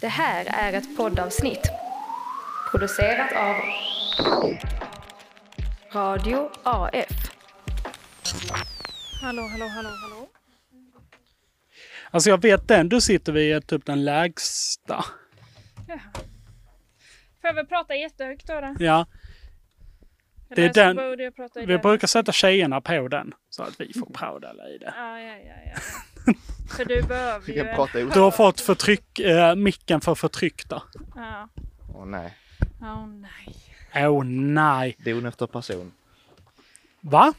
Det här är ett poddavsnitt producerat av Radio AF. Hallå, hallå, hallå, hallå. Alltså jag vet den du sitter vid är typ den lägsta. Får jag väl prata jättehögt då? då? Ja, det är Eller så den- Borde jag prata i vi den. brukar sätta tjejerna på den så att vi får prådala i det. Ah, Ja, ja, ja, ja. För du behöver Vi ju... kan en- prata i Du har fått förtryck, eh, micken för förtryckta. Ja. Åh nej. Åh nej. Åh oh, nej. Don efter person. Va?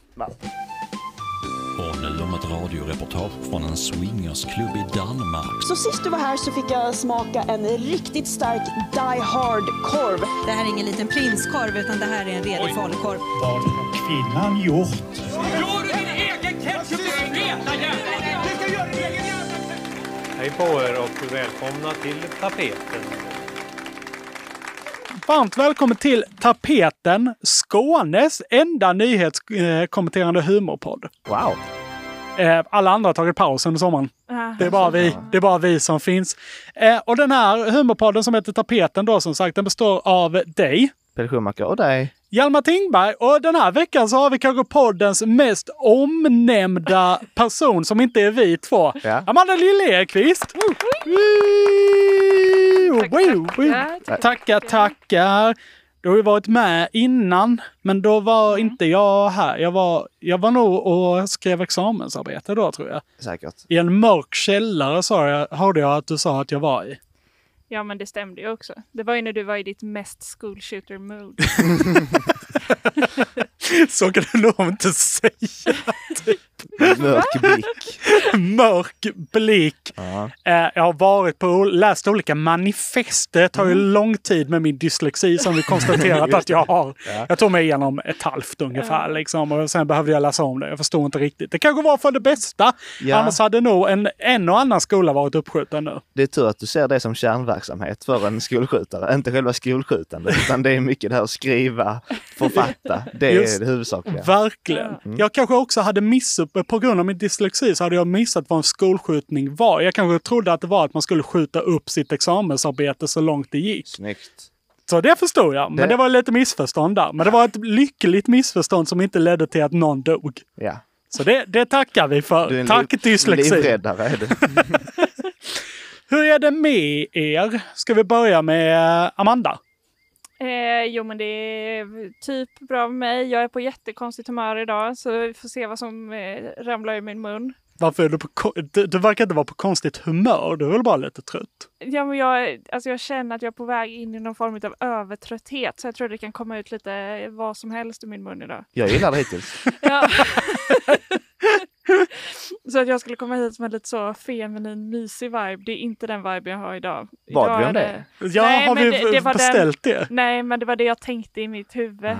Och nu om ett radioreportage från en swingersklubb i Danmark. Så sist du var här så fick jag smaka en riktigt stark Die Hard-korv. Det här är ingen liten prinskorv utan det här är en redig falukorv. kvinnan gjort? Hej på er och välkomna till tapeten. Varmt välkommen till Tapeten, Skånes enda nyhetskommenterande humorpodd. Wow! Eh, alla andra har tagit paus under sommaren. Ah, Det är bara vi, det är bara vi som finns. Eh, och den här humorpodden som heter Tapeten då som sagt, den består av dig, Pelle Schumacher och dig. Hjalmar Tingberg och den här veckan så har vi kanske poddens mest omnämnda person som inte är vi två. Ja. Amanda Lill-Ekvist! tackar. Tackar, tackar! Du har ju varit med innan, men då var Mm. inte jag här. Jag var, jag var nog och skrev examensarbete då tror jag. Säkert. I en mörk källare sa jag, hörde jag att du sa att jag var i. Ja, men det stämde ju också. Det var ju när du var i ditt mest school shooter mood. Så kan du nog inte säga. Mörk blick. Mörk blick. Ja. Eh, Jag har varit på, läst olika manifest. Det tar ju lång tid med min dyslexi som vi konstaterat att jag har. Jag tog mig igenom ett halvt ungefär. Liksom, och sen behövde jag läsa om det. Jag förstod inte riktigt. Det kanske var för det bästa. Ja. Annars hade nog en, en och annan skola varit uppskjuten nu. Det är tur att du ser det som kärnverksamhet för en skolskjutare. Inte själva skolskjutandet, utan det är mycket det här att skriva, författa. Det Just. är det huvudsakliga. Verkligen. Jag kanske också hade missat, på grund av min dyslexi så hade jag missat vad en skolskjutning var. Jag kanske trodde att det var att man skulle skjuta upp sitt examensarbete så långt det gick. Snyggt. Så det förstod jag. Men det, Det- var lite missförstånd där. Men det var ett lyckligt missförstånd som inte ledde till att någon dog. Ja. Så det, det tackar vi för. Du är en Tack liv- dyslexi. Livräddare är du. Hur är det med er? Ska vi börja med Amanda? Eh, jo, men det är typ bra med mig. Jag är på jättekonstigt humör idag, så vi får se vad som eh, ramlar ur min mun. Varför är du på ko- du, du verkar inte vara på konstigt humör. Du är väl bara lite trött? Ja, men jag, alltså jag känner att jag är på väg in i någon form av övertrötthet, så jag tror det kan komma ut lite vad som helst ur min mun idag. Jag gillar det hittills. Ja. så att jag skulle komma hit med lite så feminin, mysig vibe. Det är inte den vibe jag har idag. Bad Idag vi om är det? Ja, Nej, har men vi det- det var den- beställt det? Nej, men det var det jag tänkte i mitt huvud.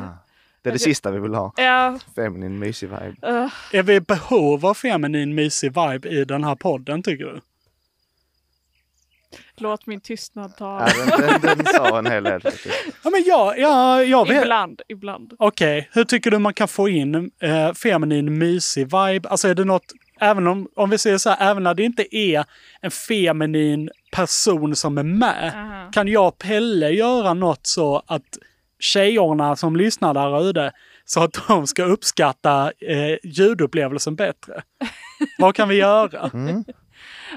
Det är det sista vi vill ha. Ja, Feminin, mysig vibe. eh, Är vi i behov av feminin mysig vibe i den här podden tycker du? låt min tystnad ta. Ja, den, den, den sa en hel del faktiskt. Ja, men jag, ja, jag vet. Ibland, ibland. Okej, hur tycker du man kan få in eh, feminin mysig vibe? Alltså är det något, även om, om vi säger så här, även när det inte är en feminin person som är med, Aha. kan jag och Pelle göra något så att tjejerna som lyssnar där ute, så att de ska uppskatta eh, ljudupplevelsen bättre? Vad kan vi göra?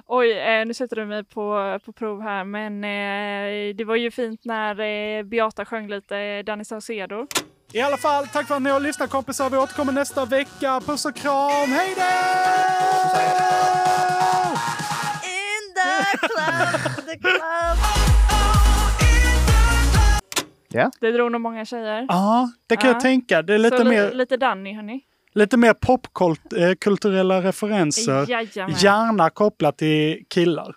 Oj, eh, nu sätter du mig på, på prov här, men eh, det var ju fint när eh, Beata sjöng lite eh, Danny Saucedo. I alla fall, tack för att ni har lyssnat kompisar. Vi återkommer nästa vecka. Puss och kram, hej då! In the club, the club. Ja, Det drog nog många tjejer. Ja, det kan Ja. jag tänka. Det är Ah, lite, så li- mer, lite Danny, hörni. lite mer popkulturella referenser. Jajamän. Gärna kopplat till killar.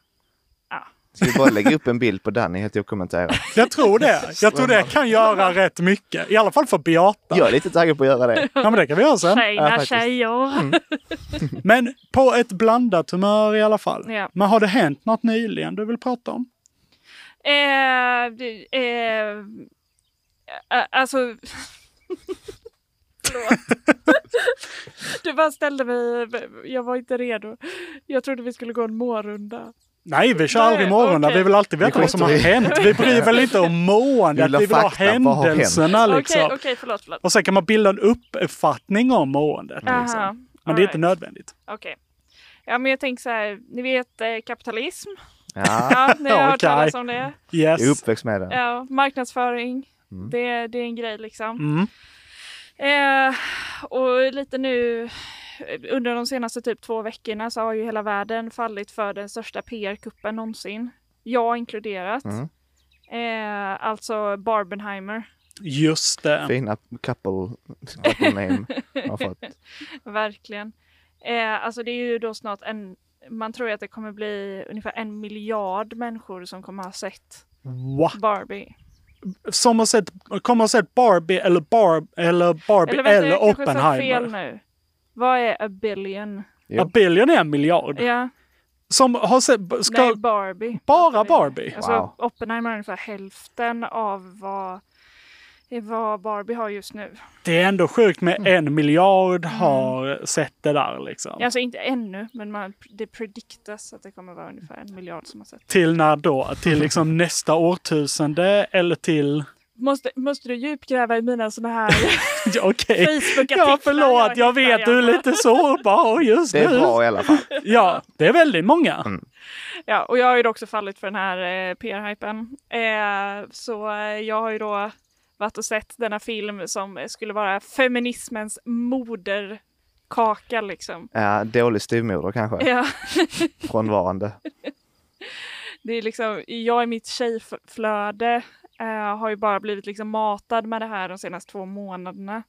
ska vi bara lägga upp en bild på Danny helt okommenterat? Jag tror det. Jag tror det kan göra rätt mycket. I alla fall för Beata. Jag är lite taggad på att göra det. Ja, men det kan vi göra sen. Tjejerna, faktiskt. tjejer. Men på ett blandat humör i alla fall. Ja. Men har det hänt något nyligen du vill prata om? Eh, det- eh, eh, alltså... Förlåt. du bara ställde mig... Jag var inte redo. Jag trodde vi skulle gå en mårunda. Nej, vi kör Nej, aldrig morgon. okej. Vi vill alltid veta Vi vad som har skiter i- hänt. Vi bryr väl inte om måendet. Vill Vi ha vill ha fakta. Vad har hänt? händelserna Okej, liksom. okej, förlåt, förlåt. Och sen kan man bilda en uppfattning om måendet. Aha, Liksom. Men det är inte alright. nödvändigt. Okej. Ja, men jag tänker så här, ni vet eh, kapitalism? Ja, Ja, ni har hört Okej. talas om det. Yes. jag är uppväxt med den. Ja, marknadsföring. Det, det är en grej liksom. Mm. Eh, och lite nu eh, under de senaste typ två veckorna så har ju hela världen fallit för den största PR-kuppen någonsin. Jag inkluderat. Mm. Eh, alltså Barbenheimer. Just det. Fina couple, couple name har fått. Verkligen. Eh, alltså det är ju då snart en, man tror ju att det kommer bli ungefär en miljard människor som kommer ha sett Va? Barbie. Som har sett, kommer ha sett Barbie eller, Barb, eller Barbie eller, jag kanske sa fel Oppenheimer. nu. Vad är a billion? Jo. A billion är en miljard. Ja, Som har sett... Ska, nej Barbie. Bara Barbie? Alltså Wow. Oppenheimer är ungefär hälften av vad, vad Barbie har just nu. Det är ändå sjukt med Mm. en miljard har sett det där liksom. Alltså inte ännu, men man, det prediktas att det kommer vara ungefär en miljard som har sett. Till när då? Till liksom nästa årtusende eller till... Måste, måste du djupgräva i mina såna här Ja, Okej. Facebook-artiklar? Ja, förlåt. Jag vet, hittar, du är Janne? lite sårbar just Det är nu. bra Mm. i alla fall. Ja, det är väldigt många. Ja, och jag har ju då också fallit för den här eh, PR-hypen. Eh, så eh, jag har ju då varit och sett denna film som skulle vara feminismens moderkaka liksom. Ja, dålig styvmoder kanske, Ja. frånvarande. det är liksom, jag i mitt tjejflöde eh, har ju bara blivit liksom matad med det här de senaste två månaderna.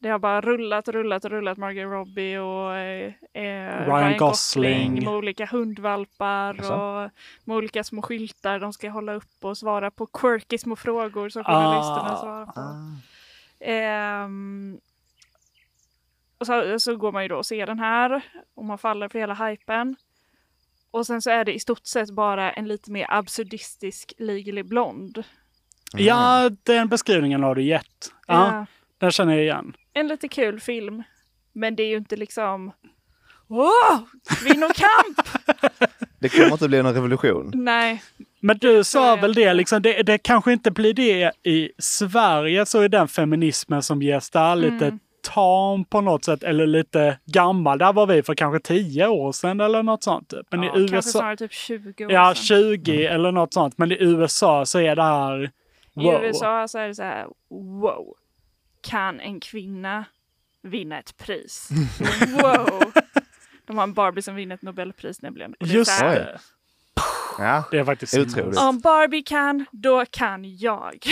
Det har bara rullat och rullat och rullat Margot Robbie och eh, eh, Ryan Gosling. med olika hundvalpar Jaså? och med olika små skyltar de ska hålla upp och svara på quirky små frågor som Ah. journalisterna svarar på. Ehm, och så, så går man ju då och ser den här och man faller för hela hypen. Och sen så är det i stort sett bara en lite mer absurdistisk Legally Blonde. Ja, den beskrivningen har du gett. Ja, Eh, Den känner jag igen. en lite kul film, men det är ju inte liksom Åh! Kvinnokamp! Det kommer inte bli någon revolution. Nej, Men du är sa det. väl det, liksom, det, det kanske inte blir det i Sverige, så är den feminismen som ges där Mm. lite tam på något sätt, eller lite gammal. Där var vi för kanske 10 år sedan eller något sånt. Typ. Men ja, i kanske USA, snarare typ 20 år ja sedan. 20 eller något sånt. Men i USA så är det här, wow. I USA så är det så här, wow, kan en kvinna vinna ett pris? wow! De har en Barbie som vinner ett Nobelpris nämligen. Och det är just så här, det. Ja, Det Mm. är faktiskt Otroligt. Om Barbie kan, då kan jag.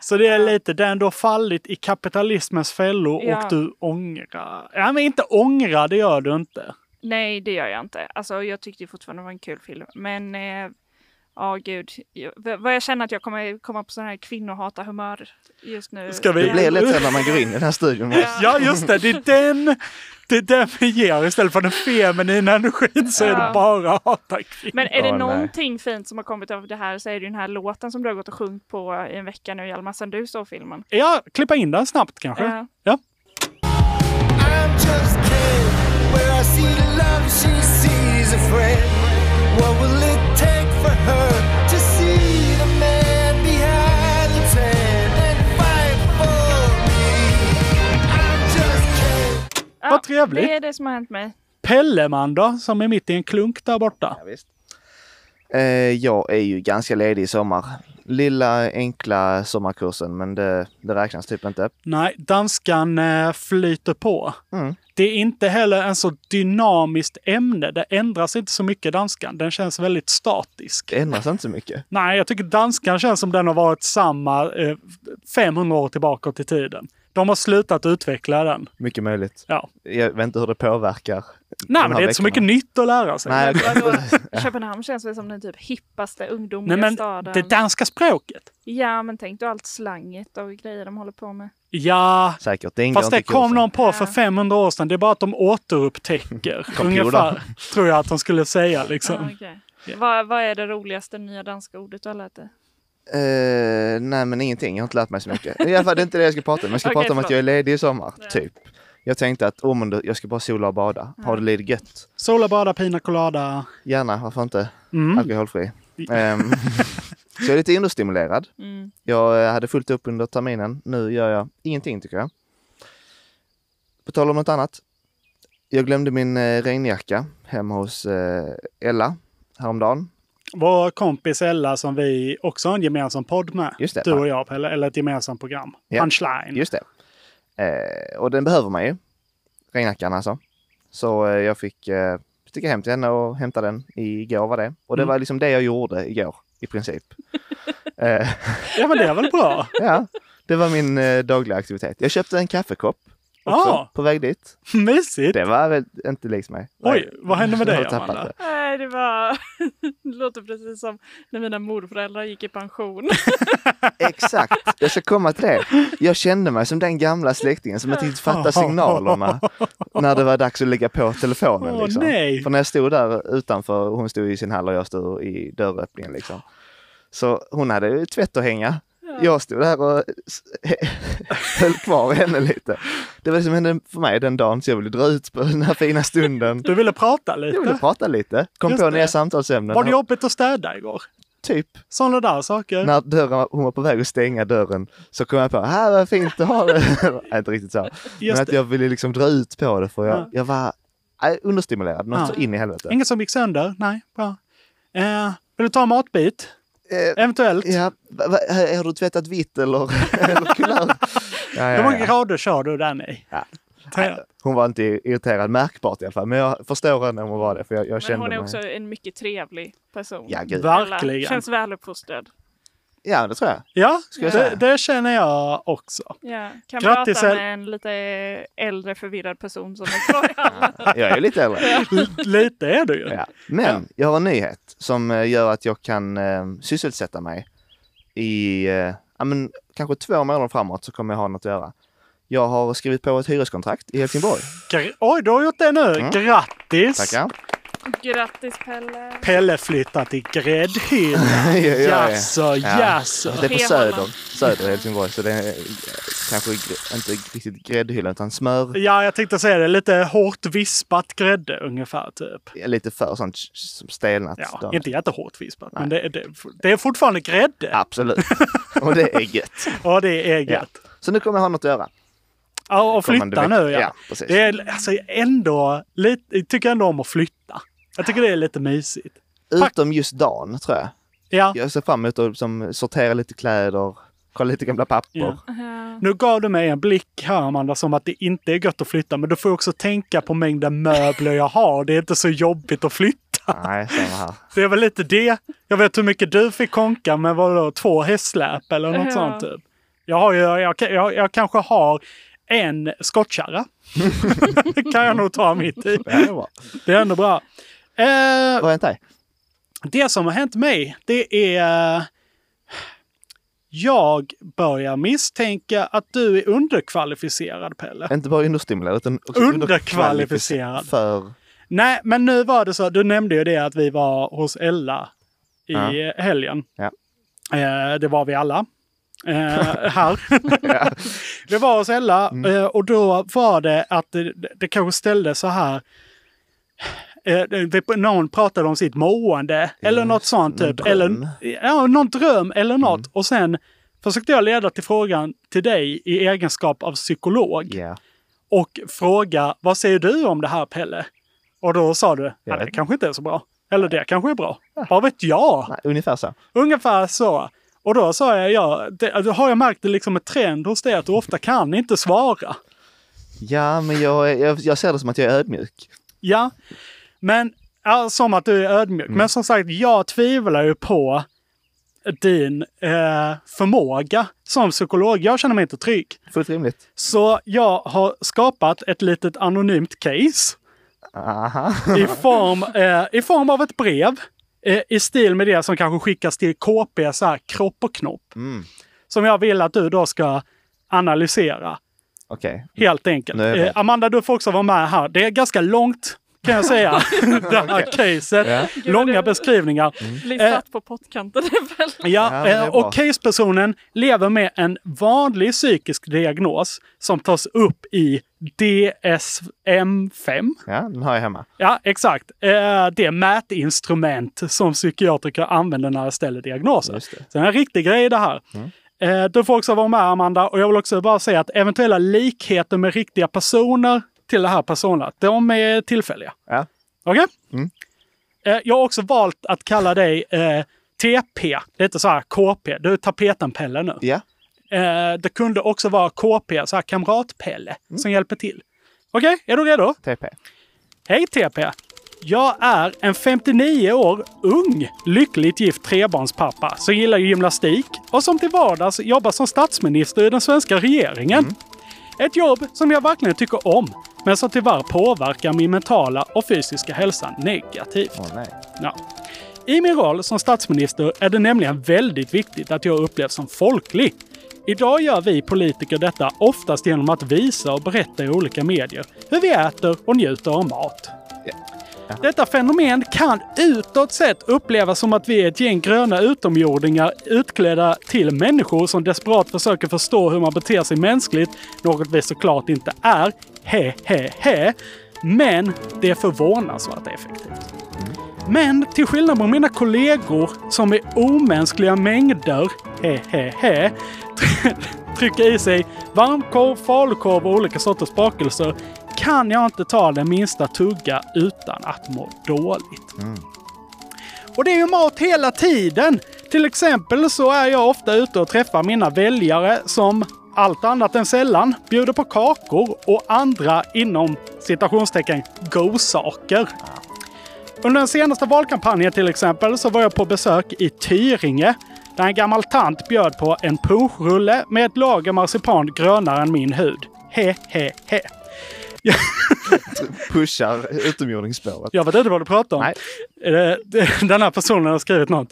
Så det är lite, den du har fallit i kapitalismens fällor Ja. och du ångrar. Ja men inte ångra, det gör du inte. Nej, det gör jag inte. Alltså, jag tyckte ju fortfarande det var en kul film. Men, ja eh, ja, gud. Jag- v- Vad jag känner att jag kommer komma på sån här kvinnohata-humör just nu. Ska vi- det blir lätt så när man går in i den här studion. Ja, just det. Det är den, det är den vi ger. Istället för den feminina energin så är det Ja. bara hata kvinnor. Men är det Ja, nej. någonting fint som har kommit av det här så är det ju den här låten som du har gått och sjungit på i en vecka nu, Hjalmar, sen du såg filmen. Ja, klippa in den snabbt kanske. Ja. Ja. I'm just kid. Where I see love, she sees a friend. What will it take for her to see the man behind the tan and fight for me? I'm just kid. Ja, Vad trevligt. Det är det som har hänt mig. Pelleman då, som är mitt i en klunk där borta. Ja, visst. Eh, jag är ju ganska ledig i sommar. Lilla enkla sommarkursen, men det, det räknas typ inte. Nej, danskan eh, flyter på. Mm. Det är inte heller en så dynamiskt ämne. Det ändras inte så mycket, danskan. Den känns väldigt statisk. Det ändras inte så mycket. Nej, jag tycker danskan känns som den har varit samma eh, 500 år tillbaka i tiden. De har slutat utveckla den. Mycket möjligt. Ja. Jag vet inte hur det påverkar. de Nej, här men det är inte så veckorna. mycket nytt att lära sig. Nej, okej. Vadå? Köpenhamn känns väl som den typ hippaste ungdomliga Nej, men staden. det danska språket. Ja, men tänk du allt slanget och grejer de håller på med. Ja, säkert. Det ingår fast det inte i kom kursen. någon på för Ja. 500 år sedan. Det är bara att de återupptäcker. ungefär, tror jag att de skulle säga. Ja, Liksom. okej. Ja. Vad, vad är det roligaste nya danska ordet du har lärt dig? Eh, nej, men ingenting. Jag har inte lärt mig så mycket. I alla fall, det är inte det jag ska prata om. Jag ska Okej, prata om att förlåt. jag är ledig i sommar, typ. Jag tänkte att oh, men då- jag ska bara sola och bada. Ha det lite gött. Sola, bada, pina colada. Gärna, varför inte? Mm. Alkoholfri. Ehm, så jag är lite understimulerad. Mm. Jag eh, hade fullt upp under terminen. Nu gör jag ingenting tycker jag. På tal om något annat. Jag glömde min eh, regnjacka hemma hos eh, Ella häromdagen. Vår kompis Ella som vi också har en gemensam podd med. Just det. Du och jag Pelle, eller ett gemensamt program. Ja. Punchline. Just det. Eh, och den behöver man ju. Regnjackan alltså. Så eh, jag fick eh, sticka hem till henne och hämta den igår var det. Och det Mm. var liksom det jag gjorde igår i princip. eh, Ja men det är väl bra? ja, det var min eh, dagliga aktivitet. Jag köpte en kaffekopp också Ja, på väg dit. mysigt! Det var väl inte likt mig. Oj, vad hände med Jag har dig, tappat Amanda? det. Nej, det var... det låter precis som när mina morföräldrar gick i pension. Exakt, jag ska komma till det. Jag kände mig som den gamla släktingen som inte riktigt fattade signalerna när det var dags att lägga på telefonen. Åh, liksom. nej. För när jag stod där utanför, och hon stod i sin hall och jag stod i dörröppningen. Liksom. Så hon hade ju tvätt att hänga. Jag stod där och s- höll kvar henne lite. Det var det som hände för mig den dagen, så jag ville dra ut på den här fina stunden. Du ville prata Jag ville lite. prata lite, kom Just på det. nya samtalsämnen. Var det jobbigt att städa igår? Typ. Sådana där saker. när dörren, hon var på väg att stänga dörren så kom jag på, här vad fint du har det. Nej, inte riktigt så. Men Just att jag ville liksom dra ut på det för jag, Ja. jag var nej, understimulerad något Ja. så in i helvete. Inget som gick sönder? Nej, bra. Eh, vill du ta en matbit? Eh, Eventuellt? ja, va, va, eh, har du tvättat vitt eller, eller kulör? Ja, Hur ja, många ja. grader kör du den i? Ja. Tre- Hon var inte irriterad märkbart i alla fall, men jag förstår henne om hon var det. För jag, jag Men kände hon är mig... också en mycket trevlig person. Ja, gud. Va? Ella Verkligen. Känns väluppfostrad. ja, det tror jag. Ja, jag det, säga? det känner jag också. Ja, kan Grattis, prata El- med en lite äldre förvirrad person som är kvar i hallen. Jag är ju lite äldre. Lite är du ju. Ja. Men jag har en nyhet som eh, gör att jag kan eh, sysselsätta mig i eh, ja, men, kanske två månader framåt så kommer jag ha något att göra. Jag har skrivit på ett hyreskontrakt i Helsingborg. Gr- Oj, du har gjort det nu. Mm. Grattis! Tackar. Grattis Pelle! Pelle flyttar till Gräddhylla. Jag gör det. Jaså, jaså. Det är på P-Holland. söder, söder i Helsingborg så det är eh, kanske gr- inte riktigt gräddhylla utan smör. Ja, jag tänkte säga det. Lite hårt vispat grädde ungefär, typ. Lite för sånt s- som stelnat. Ja, Då. inte jättehårt vispat, men det, det, det är fortfarande grädde. Absolut. Och det är gött. Ja, det är gött. Så nu kommer jag ha något att göra. Ja, och Kommande flytta vecka. nu, ja. Ja, precis. det är alltså ändå lite, jag tycker ändå om att flytta. Jag tycker det är lite mysigt. Utom just dagen tror jag. Ja, Jag ser fram emot att som, sortera lite kläder, kolla lite gamla papper. Ja. nu gav du mig en blick här, Amanda, som att det inte är gött att flytta. Men då får jag också tänka på mängden möbler jag har. Det är inte så jobbigt att flytta. Nej, samma här. Det är väl lite det. Jag vet hur mycket du fick konka med vadå, två hästsläp eller något Ja. sånt typ. Jag, har ju, jag, jag, jag kanske har en skottkärra. Det kan jag nog ta mitt i. Ja, det var. Det är ändå bra. Eh, Vad har hänt dig? det som har hänt mig, det är... eh, Jag börjar misstänka att du är underkvalificerad, Pelle. Inte bara understimulerad utan också Underkvalificerad. underkvalificerad För... Nej, men nu var det så. Du nämnde ju det att vi var hos Ella i Ja. helgen. Ja. Eh, det var vi alla. Eh, här. Vi var hos Ella Mm. eh, och då var det att det, det kanske ställde så här. Eh, det- någon pratade om sitt mående eller något sånt. någon Typ. dröm. Mm. Eller, ja, någon dröm eller något. Och sen försökte jag leda till frågan till dig i egenskap av psykolog Ja. och fråga vad säger du om det här Pelle? Och då sa du, ja, det vet. kanske inte är så bra. Eller det kanske är bra. Vad vet jag? Nej, ungefär så. Ungefär så. Och då sa jag, ja, det, har jag märkt det liksom en trend hos dig att du ofta kan inte svara? Ja, men jag, är- jag, jag ser det som att jag är ödmjuk. Ja, men ja, som att du är ödmjuk. Mm. Men som sagt, jag tvivlar ju på din eh, förmåga som psykolog. Jag känner mig inte trygg. Fullt rimligt. Så jag har skapat ett litet anonymt case. Aha. i form, eh, i form av ett brev eh, i stil med det som kanske skickas till KP, så här, kropp och knopp. Mm. Som jag vill att du då ska analysera, Okej. helt enkelt. Nej, nej. Eh, Amanda, du får också vara med här. Det är ganska långt. kan jag säga. det här caset. Ja. Långa beskrivningar. Blir Eh. satt på pottkanten. det är väl- Ja, Ja, det är eh, bra. och casepersonen lever med en vanlig psykisk diagnos som tas upp i DSM-5. Ja, den har jag hemma. Ja, exakt. Eh, Det mätinstrument som psykiatriker använder när de ställer diagnoser. Just Så det. Mm. det är en riktig grej det här. Eh, Du får också vara med Amanda och jag vill också bara säga att eventuella likheter med riktiga personer till det här personerna, de är tillfälliga. Ja. Okej? Mm. Eh, Jag har också valt att kalla dig eh, TP, lite så här KP. Du är tapeten-Pelle nu. Ja, Eh, Det kunde också vara KP, så här kamrat-Pelle, Mm. som hjälper till. Okej, är du redo? TP. Hej TP! Jag är en 59 år ung, lyckligt gift trebarnspappa som gillar gymnastik och som till vardags jobbar som statsminister i den svenska regeringen. Ett jobb som jag verkligen tycker om, men som tyvärr påverkar min mentala och fysiska hälsa negativt. Åh nej. Ja. I min roll som statsminister är det nämligen väldigt viktigt att jag upplevs som folklig. Idag gör vi politiker detta oftast genom att visa och berätta i olika medier hur vi äter och njuter av mat. Detta fenomen kan utåt sett upplevas som att vi är ett gäng gröna utomjordingar utklädda till människor som desperat försöker förstå hur man beter sig mänskligt, något vi såklart inte är. He, he, he. Men det är förvånansvärt effektivt. Men till skillnad från mina kollegor som i omänskliga mängder he, he, he, trycker i sig varmkorv, falukorv och olika sorters bakelser kan jag inte ta den minsta tugga utan att må dåligt. Och det är ju mat hela tiden! Till exempel så är jag ofta ute och träffar mina väljare som allt annat än sällan bjuder på kakor och andra inom citationstecken go-saker. Under den senaste valkampanjen till exempel så var jag på besök i Tyringe där en gammal tant bjöd på en punschrulle med ett lager marsipan grönare än min hud. He, he, he. Pushar utomjordingspåret. Jag vet inte vad du pratar om. Nej. Eh, Den här personen har skrivit något.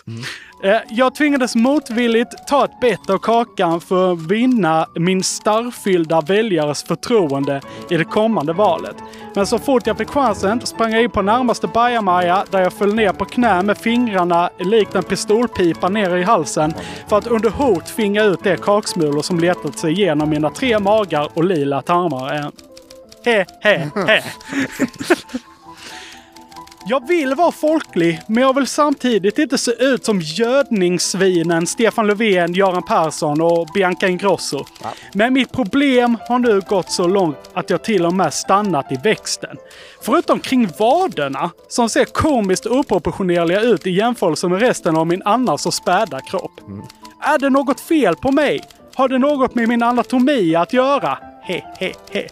Eh, Jag tvingades motvilligt ta ett bett av kakan för att vinna min starrfyllda väljares förtroende i det kommande valet. Men så fort jag fick chansen sprang jag in på närmaste bajamaja där jag föll ner på knä med fingrarna likt en pistolpipa ner i halsen för att under hot finga ut de kaksmulor som letat sig igenom mina tre magar och lila tarmar. Eh, He, he, he. Jag vill vara folklig, men jag vill samtidigt inte se ut som gödningsvinen Stefan Löfven, Göran Persson och Bianca Ingrosso. Men mitt problem har nu gått så långt att jag till och med stannat i växten. Förutom kring vaderna, som ser komiskt oproportionerliga ut i jämförelse med resten av min annars så späda kropp. Är det något fel på mig? Har det något med min anatomi att göra? He, he, he.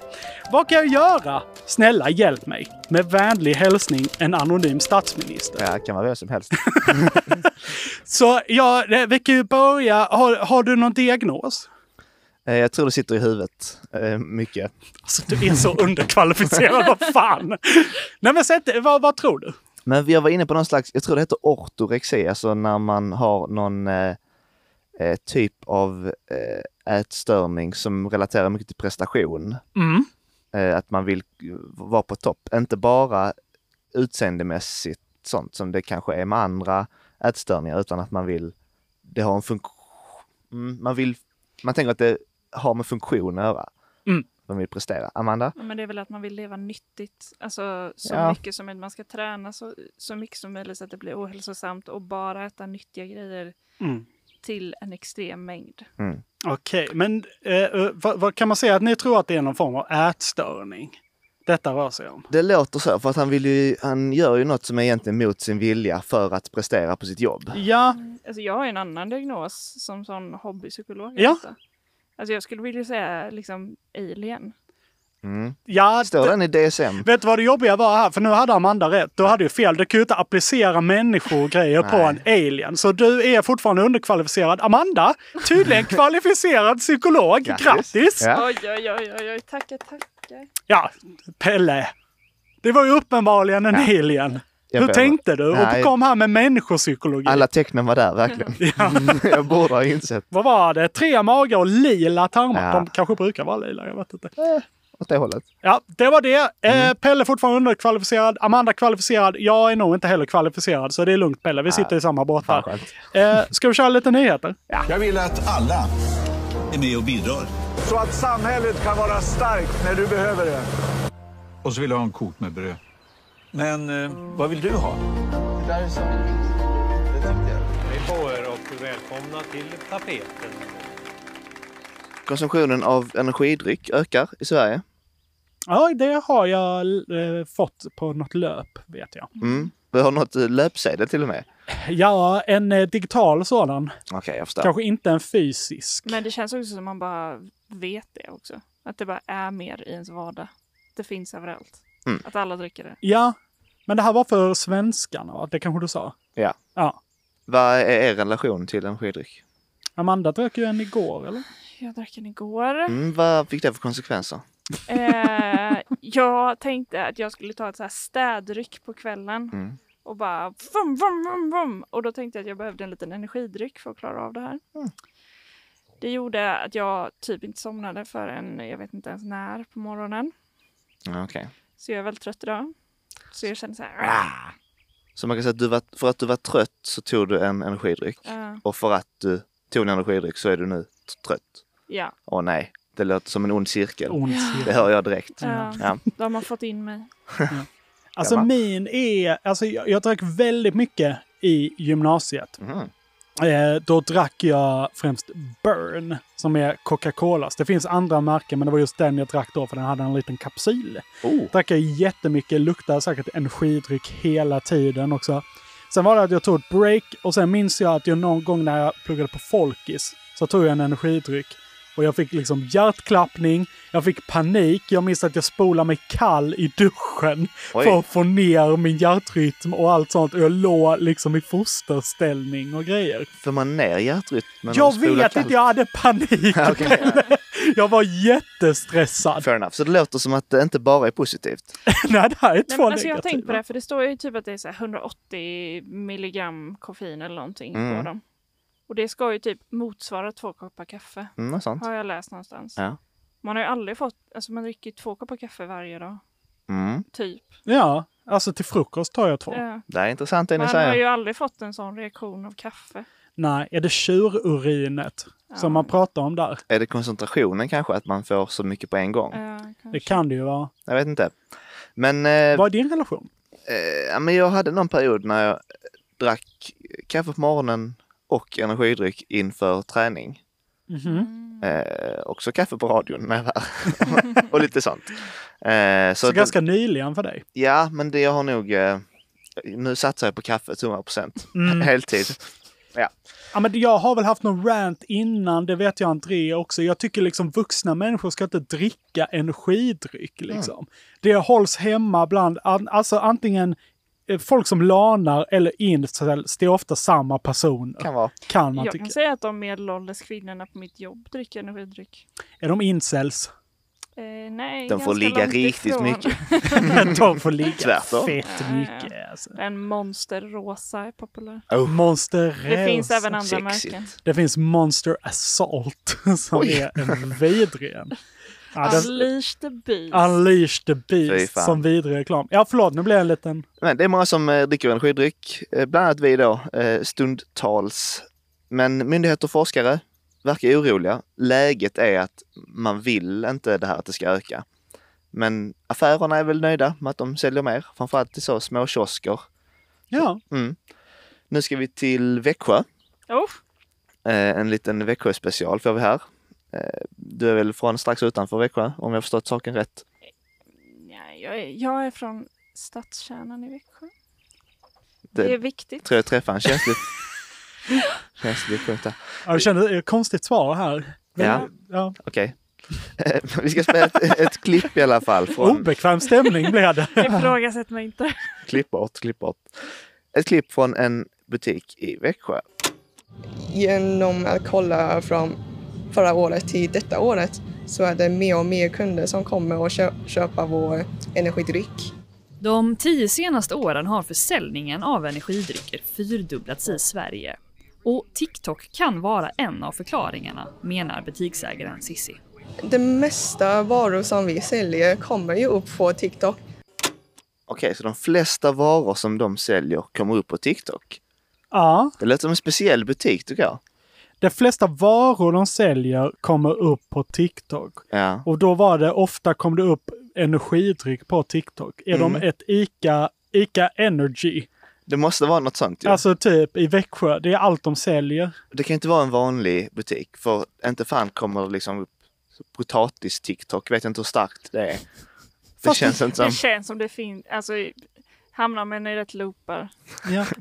Vad kan jag göra? Snälla hjälp mig. Med vänlig hälsning en anonym statsminister. Ja, kan vara vem som helst. Så ja, det- vi kan ju börja. Har, har du någon diagnos? Eh, Jag tror det sitter i huvudet eh, mycket. Alltså du är så underkvalificerad, vad fan! Nej men sätt, vad, vad tror du? Men jag var inne på någon slags, jag tror det heter ortorexi, alltså när man har någon eh, eh, typ av eh, ätstörning som relaterar mycket till prestation. Mm. Eh, att man vill eh, vara på topp, inte bara utseendemässigt sånt som det kanske är med andra ätstörningar, utan att man vill, det har en funktion, mm, man vill, man tänker att det har med funktion att göra. Mm. Man vill prestera. Amanda? Ja, Men det är väl att man vill leva nyttigt. Alltså så Ja. mycket som möjligt. Man ska träna så, så mycket som möjligt så att det blir ohälsosamt och bara äta nyttiga grejer Mm. till en extrem mängd. Okej, men eh, vad, vad kan man säga att ni tror att det är någon form av ätstörning? Detta rör sig om. Det låter så, för att han, vill ju, han gör ju något som är egentligen mot sin vilja för att prestera på sitt jobb. Ja, Alltså jag har ju en annan diagnos som sån hobbypsykolog. Ja. alltså. Alltså jag skulle vilja säga liksom alien. Mm. ja Står den i DSM? Vet du vad det jobbiga var här? För nu hade Amanda rätt. Du hade ju fel. Du kan ju inte applicera människor och grejer på en alien. Så du är fortfarande underkvalificerad. Amanda, tydligen kvalificerad psykolog. Grattis. Grattis! Ja. Ja. Oj, oj, oj, oj, oj, tackar, tackar. Pelle. Det var ju uppenbarligen en alien. Jag Hur behöver- tänkte du? Nej. Och kom här med människopsykologi. Alla tecknen var där, verkligen. jag borde ha insett. Vad var det? Tre magar och lila tarmar. Ja. De kanske brukar vara lila, jag vet inte. åt det hållet. Ja, det var det. Mm. Eh, Pelle fortfarande underkvalificerad. Amanda kvalificerad. Jag är nog inte heller kvalificerad, så det är lugnt Pelle. Vi sitter i samma båt Fan, här. skönt. Eh, ska vi köra lite nyheter? Jag vill att alla Är med och bidrar. Så att samhället kan vara starkt när du behöver det. Och så vill jag ha en kok med bröd. Men eh, vad vill du ha? Hej på er och välkomna till tapeten. Konsumtionen av energidryck ökar i Sverige. Ja, det har jag eh, fått på något löp, vet jag. Mm. Vi har något eh, löpsedel till och med. Ja, en eh, digital sådan. Okej, jag förstår. Kanske inte en fysisk. Men det känns också som man bara vet det också. Att det bara är mer i ens vardag. Det finns överallt. Mm. Att alla dricker det. Ja, men det här var för svenskarna, va? Det kanske du sa? Ja. Ja. Vad är er relation till energidryck? Amanda drack ju en igår, eller? Jag drack den igår. Mm, vad fick det för konsekvenser? Eh, jag tänkte att jag skulle ta ett så här städryck på kvällen. Mm. Och bara vum, vum, vum, vum. Och då tänkte jag att jag behövde en liten energidryck för att klara av det här. Det gjorde att jag typ inte somnade förrän jag vet inte ens när på morgonen. Ja, Okej. Så jag är väldigt trött idag. Så jag känner så Ah. här. Så man kan säga att du var, för att du var trött så tog du en energidryck. "Ah, eh, Och för att du tog en energidryck så är du nu t- trött. ja, Åh nej, det låter som en ond cirkel. Ont. Det hör jag direkt. Ja. Ja. Eh, då har man fått in mig. Alltså Gammal. min är, alltså jag, jag drack väldigt mycket i gymnasiet. Mm. Eh, då drack jag främst Burn, som är Coca-Colas. Det finns andra märken, men det var just den jag drack då, för den hade en liten kapsyl. Oh. Drack jag jättemycket, luktade säkert energidryck hela tiden också. Sen var det att jag tog ett break och sen minns jag att jag någon gång när jag pluggade på Folkis så tog jag en energidryck. Och jag fick liksom hjärtklappning, jag fick panik, jag minns att jag spolade mig kall i duschen Oj. för att få ner min hjärtrytm och allt sånt. Och jag låg liksom i fosterställning och grejer. För man ner hjärtrytmen? och jag spolar vet kallt? inte, jag hade panik! Okej. Jag var jättestressad. Fair enough. Så det låter som att det inte bara är positivt. Nej, det här är Nej, två men alltså jag har tänkt på negativa. det, här, för det står ju typ att det är så här 180 milligram koffein eller någonting Mm. på dem. Och det ska ju typ motsvara två koppar kaffe. Mm, något sånt. Har jag läst någonstans. Ja. Man har ju aldrig fått, alltså man dricker ju två koppar kaffe varje dag. Mm. Typ. Ja, alltså till frukost tar jag två. Ja. Det är intressant det ni Man har säger. ju aldrig fått en sån reaktion av kaffe. Nej, är det tjururinet som man pratar om där? Är det koncentrationen kanske, att man får så mycket på en gång? Ja, Det kanske. kan det ju vara. Jag vet inte. Men, eh, Vad är din relation? eh, ja, men jag hade någon period när jag eh, drack kaffe på morgonen och energidryck inför träning. Mhm. Eh, också kaffe på radion när jag var här. och lite sånt. Eh, Så, att den- ganska nyligen för dig? Ja, men det jag har nog... Eh, nu satsar jag på kaffet 100 procent. Mm. Heltid. Ja, men jag har väl haft någon rant innan, det vet jag André också. Jag tycker liksom vuxna människor ska inte dricka energidryck. Mm. Liksom. Det hålls hemma bland, an- alltså antingen eh, folk som lanar eller incels, det är ofta samma personer. Kan vara. Kan man Jag tycka. kan säga att de medelålders kvinnorna på mitt jobb dricker energidryck. Är de incels? Eh, nej, De får ganska ligga långt riktigt ifrån. mycket. de får ligga Tvärtom. fett mycket. Alltså. En monsterrosa är populär. Oh, Monster Det finns även andra Sexigt. märken. Det finns Monster Assault som Oj. är en vidrig en. Ja, Alltså, den- Unleash the beast. Unleash the Fy Beast fan. som vidrig reklam. Ja, förlåt, nu blev jag en liten... Men det är många som eh, dricker energidryck, eh, bland annat vi då, eh, stundtals. Men myndigheter och forskare verkar oroliga. Läget är att man vill inte det här att det ska öka. Men affärerna är väl nöjda med att de säljer mer, framförallt till så små kiosker. Ja, Nu ska vi till Växjö. Oh, Eh, en liten Växjö-special får vi här. Eh, du är väl från strax utanför Växjö, om jag förstått saken rätt. nej, jag, är, jag är från stadskärnan i Växjö. Det- det är viktigt. Tror jag träffar en känslig, känslig punkt där. Ja, jag känner det är ett konstigt svar här. Men- Ja. ja. Okej. Eh, vi ska spela ett, ett klipp i alla fall. Från, Obekväm stämning blev det. Ifrågasätt mig inte. Klipp bort, klipp bort. Ett klipp från en butik i Växjö. Genom att kolla från förra året till detta året så är det mer och mer kunder som kommer och kö- köpa vår energidryck. De tio senaste åren har försäljningen av energidrycker fyrdubblats i Sverige. Och TikTok kan vara en av förklaringarna, menar butiksägaren Sissi. Det mesta varor som vi säljer kommer ju upp på TikTok. Okej, så de flesta varor som de säljer kommer upp på TikTok. Ja. Det lät som en speciell butik tycker jag. De flesta varor de säljer kommer upp på TikTok. Ja. Och då var det ofta kom det upp energidryck på TikTok. Är Mm. de ett ICA, ICA Energy? Det måste vara något sånt ju. Alltså typ i Växjö, det är allt de säljer. Det kan ju inte vara en vanlig butik för inte fan kommer det liksom upp potatis-TikTok. Vet inte hur starkt det är. Det känns inte Det som känns som det finns, alltså i- hamnar man i rätt loopar.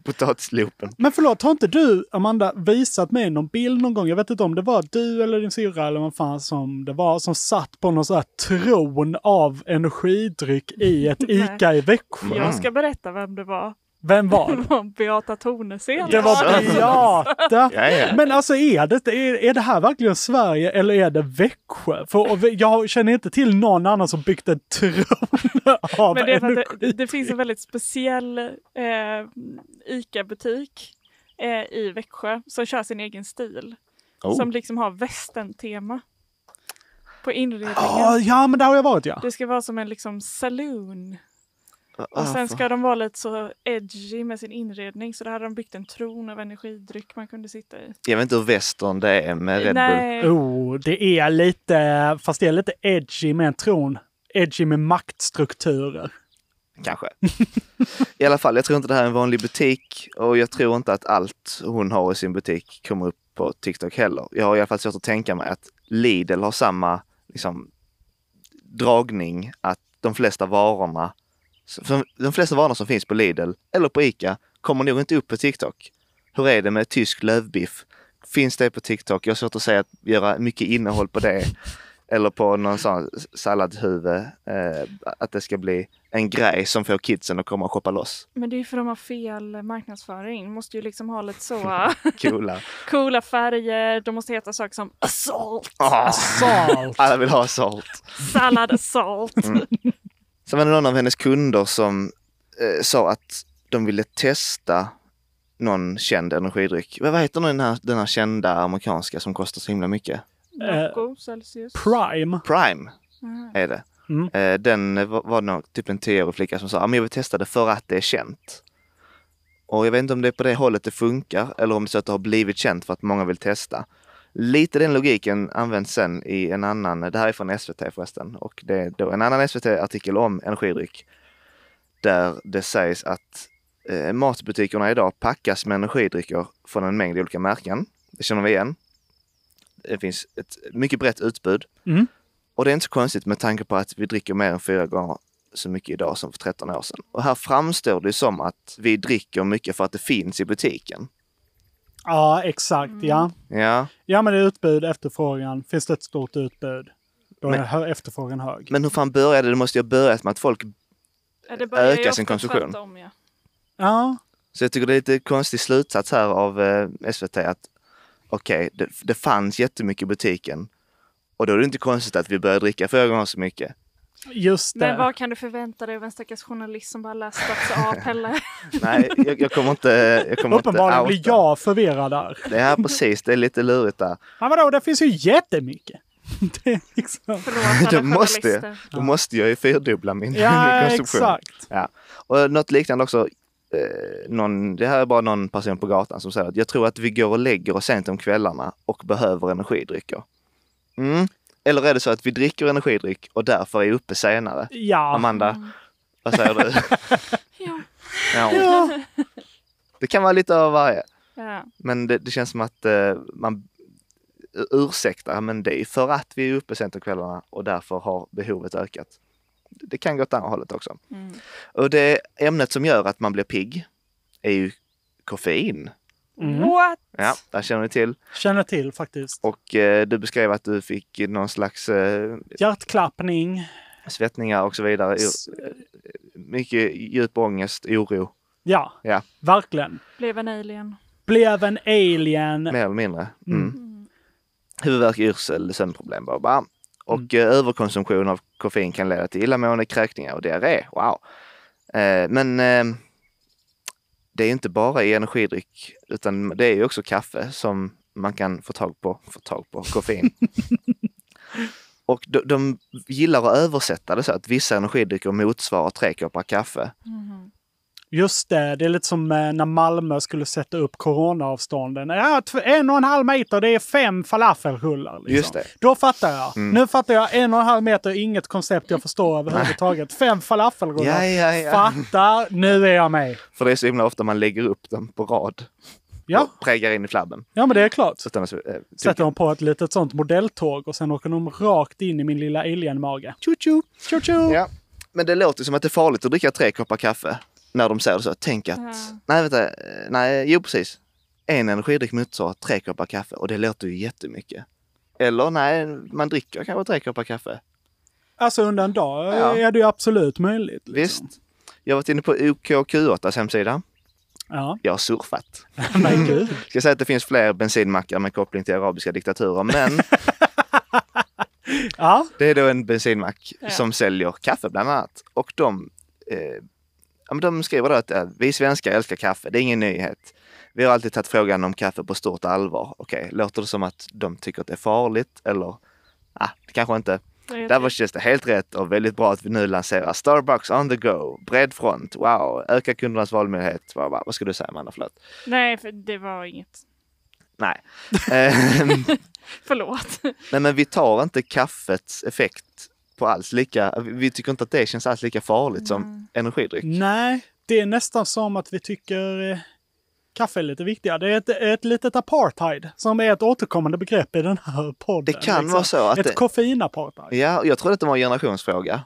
potatisloopen. Men förlåt, har inte du, Amanda, visat mig någon bild någon gång? Jag vet inte om det var du eller din syrra eller vad fan som det var, som satt på någon sån här tron av energidryck i ett Nej. ICA i Växjö. Jag ska berätta vem det var. Vem var Det var Beata Tornesen. Det var Beata! Ja, ja. Men alltså är det, är, är det här verkligen Sverige eller är det Växjö? För och vi- jag känner inte till någon annan som byggt en tron av Men det, är för energi. att det, det finns en väldigt speciell eh, ICA-butik eh, i Växjö som kör sin egen stil. Oh. Som liksom har västern-tema på inredningen. Ja, ja, men där har jag varit ja. Det ska vara som en liksom saloon. Ah, Och sen fan. ska de vara lite så edgy med sin inredning så då hade de byggt en tron av energidryck man kunde sitta i. Jag vet inte hur västern det är med Red Nej. Bull. Oh, det är lite, fast det är lite edgy med en tron. Edgy med maktstrukturer. Kanske. I alla fall, jag tror inte det här är en vanlig butik och jag tror inte att allt hon har i sin butik kommer upp på TikTok heller. Jag har i alla fall svårt att tänka mig att Lidl har samma liksom, dragning att de flesta varorna för de flesta varorna som finns på Lidl eller på Ica kommer nog inte upp på TikTok. Hur är det med tysk lövbiff? Finns det på TikTok? Jag har svårt att säga att göra mycket innehåll på det. Eller på någon sån salladshuvud. Eh, att det ska bli en grej som får kidsen att komma och shoppa loss. Men det är ju för att de har fel marknadsföring. De måste ju liksom ha lite så Coola. coola färger. De måste heta saker som assault, Ah. Assault. Alla vill ha assault. sallad assault. Mm. Sen var det någon av hennes kunder som eh, sa att de ville testa någon känd energidryck. Vad vad heter den här, den här kända amerikanska som kostar så himla mycket? Nocco, Celsius. Prime. Prime Mm. är det. Mm. Eh, Den eh, var var det nog typ en tioårig flicka som sa att jag vill testa det för att det är känt. Och jag vet inte om det är på det hållet det funkar eller om det är så att det har blivit känt för att många vill testa. Lite den logiken används sen i en annan, det här är från SVT förresten, och det är då en annan SVT-artikel om energidryck. Där det sägs att eh, matbutikerna idag packas med energidrycker från en mängd olika märken. Det känner vi igen. Det finns ett mycket brett utbud. Mm. Och det är inte så konstigt med tanke på att vi dricker mer än fyra gånger så mycket idag som för 13 år sedan. Och här framstår det som att vi dricker mycket för att det finns i butiken. Ja, exakt ja. Mm. Ja, Ja, men det är utbud, efterfrågan. Finns det ett stort utbud, då är Men- hö- efterfrågan hög. men hur fan började det? Det måste ju ha börjat med att folk... Ja, det börjar ju Öka sin ofta konsumtion. tvärtom, ja. Ja, Så jag tycker det är lite konstig slutsats här av eh, SVT att okej, det, det fanns jättemycket i butiken och då är det inte konstigt att vi börjar dricka fyra gånger så mycket. just det. Men vad kan du förvänta dig av en stackars journalist som bara läst Stats A, E? Pelle? Nej, jag, jag kommer inte... Jag kommer inte Uppenbarligen blir outa. jag förvirrad där. Det här precis, det är lite lurigt där. Ja, vadå, det finns ju jättemycket. Det är liksom... Då måste, jag, då måste jag ju fyrdubbla min, Ja, min konsumtion. exakt. Ja. Och något liknande också. Eh, någon, det här är bara någon person på gatan som säger att jag tror att vi går och lägger oss sent om kvällarna och behöver energidrycker. Mm. Eller är det så att vi dricker energidryck och därför är uppe senare? Ja. Amanda, vad säger du? Ja. ja. Det kan vara lite av varje. Ja. Men det, det känns som att eh, man ursäktar, men det är för att vi är uppe sent på kvällarna och därför har behovet ökat. Det kan gå åt andra hållet också. Mm. Och det ämnet som gör att man blir pigg är ju koffein. Mm. What? Ja, där känner ni till. Känner till faktiskt. Och eh, du beskrev att du fick någon slags eh, Hjärtklappning. svettningar och så vidare. S- Mycket djup ångest, oro. Ja, Ja, verkligen. Blev en alien. Blev en alien. mer eller mindre. Mm. Huvudvärk, yrsel, sömnproblem, bara, bara. Och eh, överkonsumtion av koffein kan leda till illamående, kräkningar och diarré. Wow! Eh, men eh, det är inte bara i energidryck, utan det är ju också kaffe som man kan få tag på, få tag på koffein. Och de, de gillar att översätta det så att vissa energidrycker motsvarar tre koppar kaffe. Just det, det är lite som eh, när Malmö skulle sätta upp coronaavstånden. Ja, tv- en och en halv meter, det är fem falafelrullar. Liksom. Just det. Då fattar jag. Mm. Nu fattar jag. En och en halv meter, inget koncept jag förstår överhuvudtaget. Fem falafelrullar. Ja, ja, ja. Fattar, nu är jag med. För det är så himla ofta man lägger upp dem på rad. Ja, Och prägar in i flabben. ja men det är klart. Så att den, är- eh, Sätter de på ett litet sånt modelltåg och sen åker de rakt in i min lilla alien-mage. Tjo-tjo, tjo-tjo. Ja. Men det låter som att det är farligt att dricka tre koppar kaffe när de säger det så. Tänk att, nej vänta, eh, nej, jo precis. En energidryck motsvarar tre koppar kaffe och det låter ju jättemycket. Eller nej, man dricker kanske tre koppar kaffe. Alltså under en dag eh, Ja. är det ju absolut möjligt. liksom. Visst. Jag har varit inne på OKQ8s hemsida. Ja, Jag har surfat. men gud. Ska säga att det finns fler bensinmackar med koppling till arabiska diktaturer, men Ja, det är då en bensinmack som säljer kaffe bland annat. Och de, eh, ja, men de skriver då att eh, vi svenskar älskar kaffe, det är ingen nyhet. Vi har alltid tagit frågan om kaffe på stort allvar. Okej, låter det som att de tycker att det är farligt eller? Ah, det kanske inte. Det Där var känns det helt rätt och väldigt bra att vi nu lanserar Starbucks on the go, bred front, wow, öka kundernas valmöjlighet. Wow, wow. Vad ska du säga Amanda, förlåt? Nej, för det var inget. Nej. Ehm, Förlåt. Nej, men vi tar inte kaffets effekt på alls lika... vi- Vi tycker inte att det känns alls lika farligt som energidryck. Nej, det är nästan som att vi tycker eh, kaffe är lite viktigare. Det är ett, ett litet apartheid som är ett återkommande begrepp i den här podden. liksom. Det kan vara så att Ett det- koffeinapartheid. Ja, och jag trodde att det var en generationsfråga.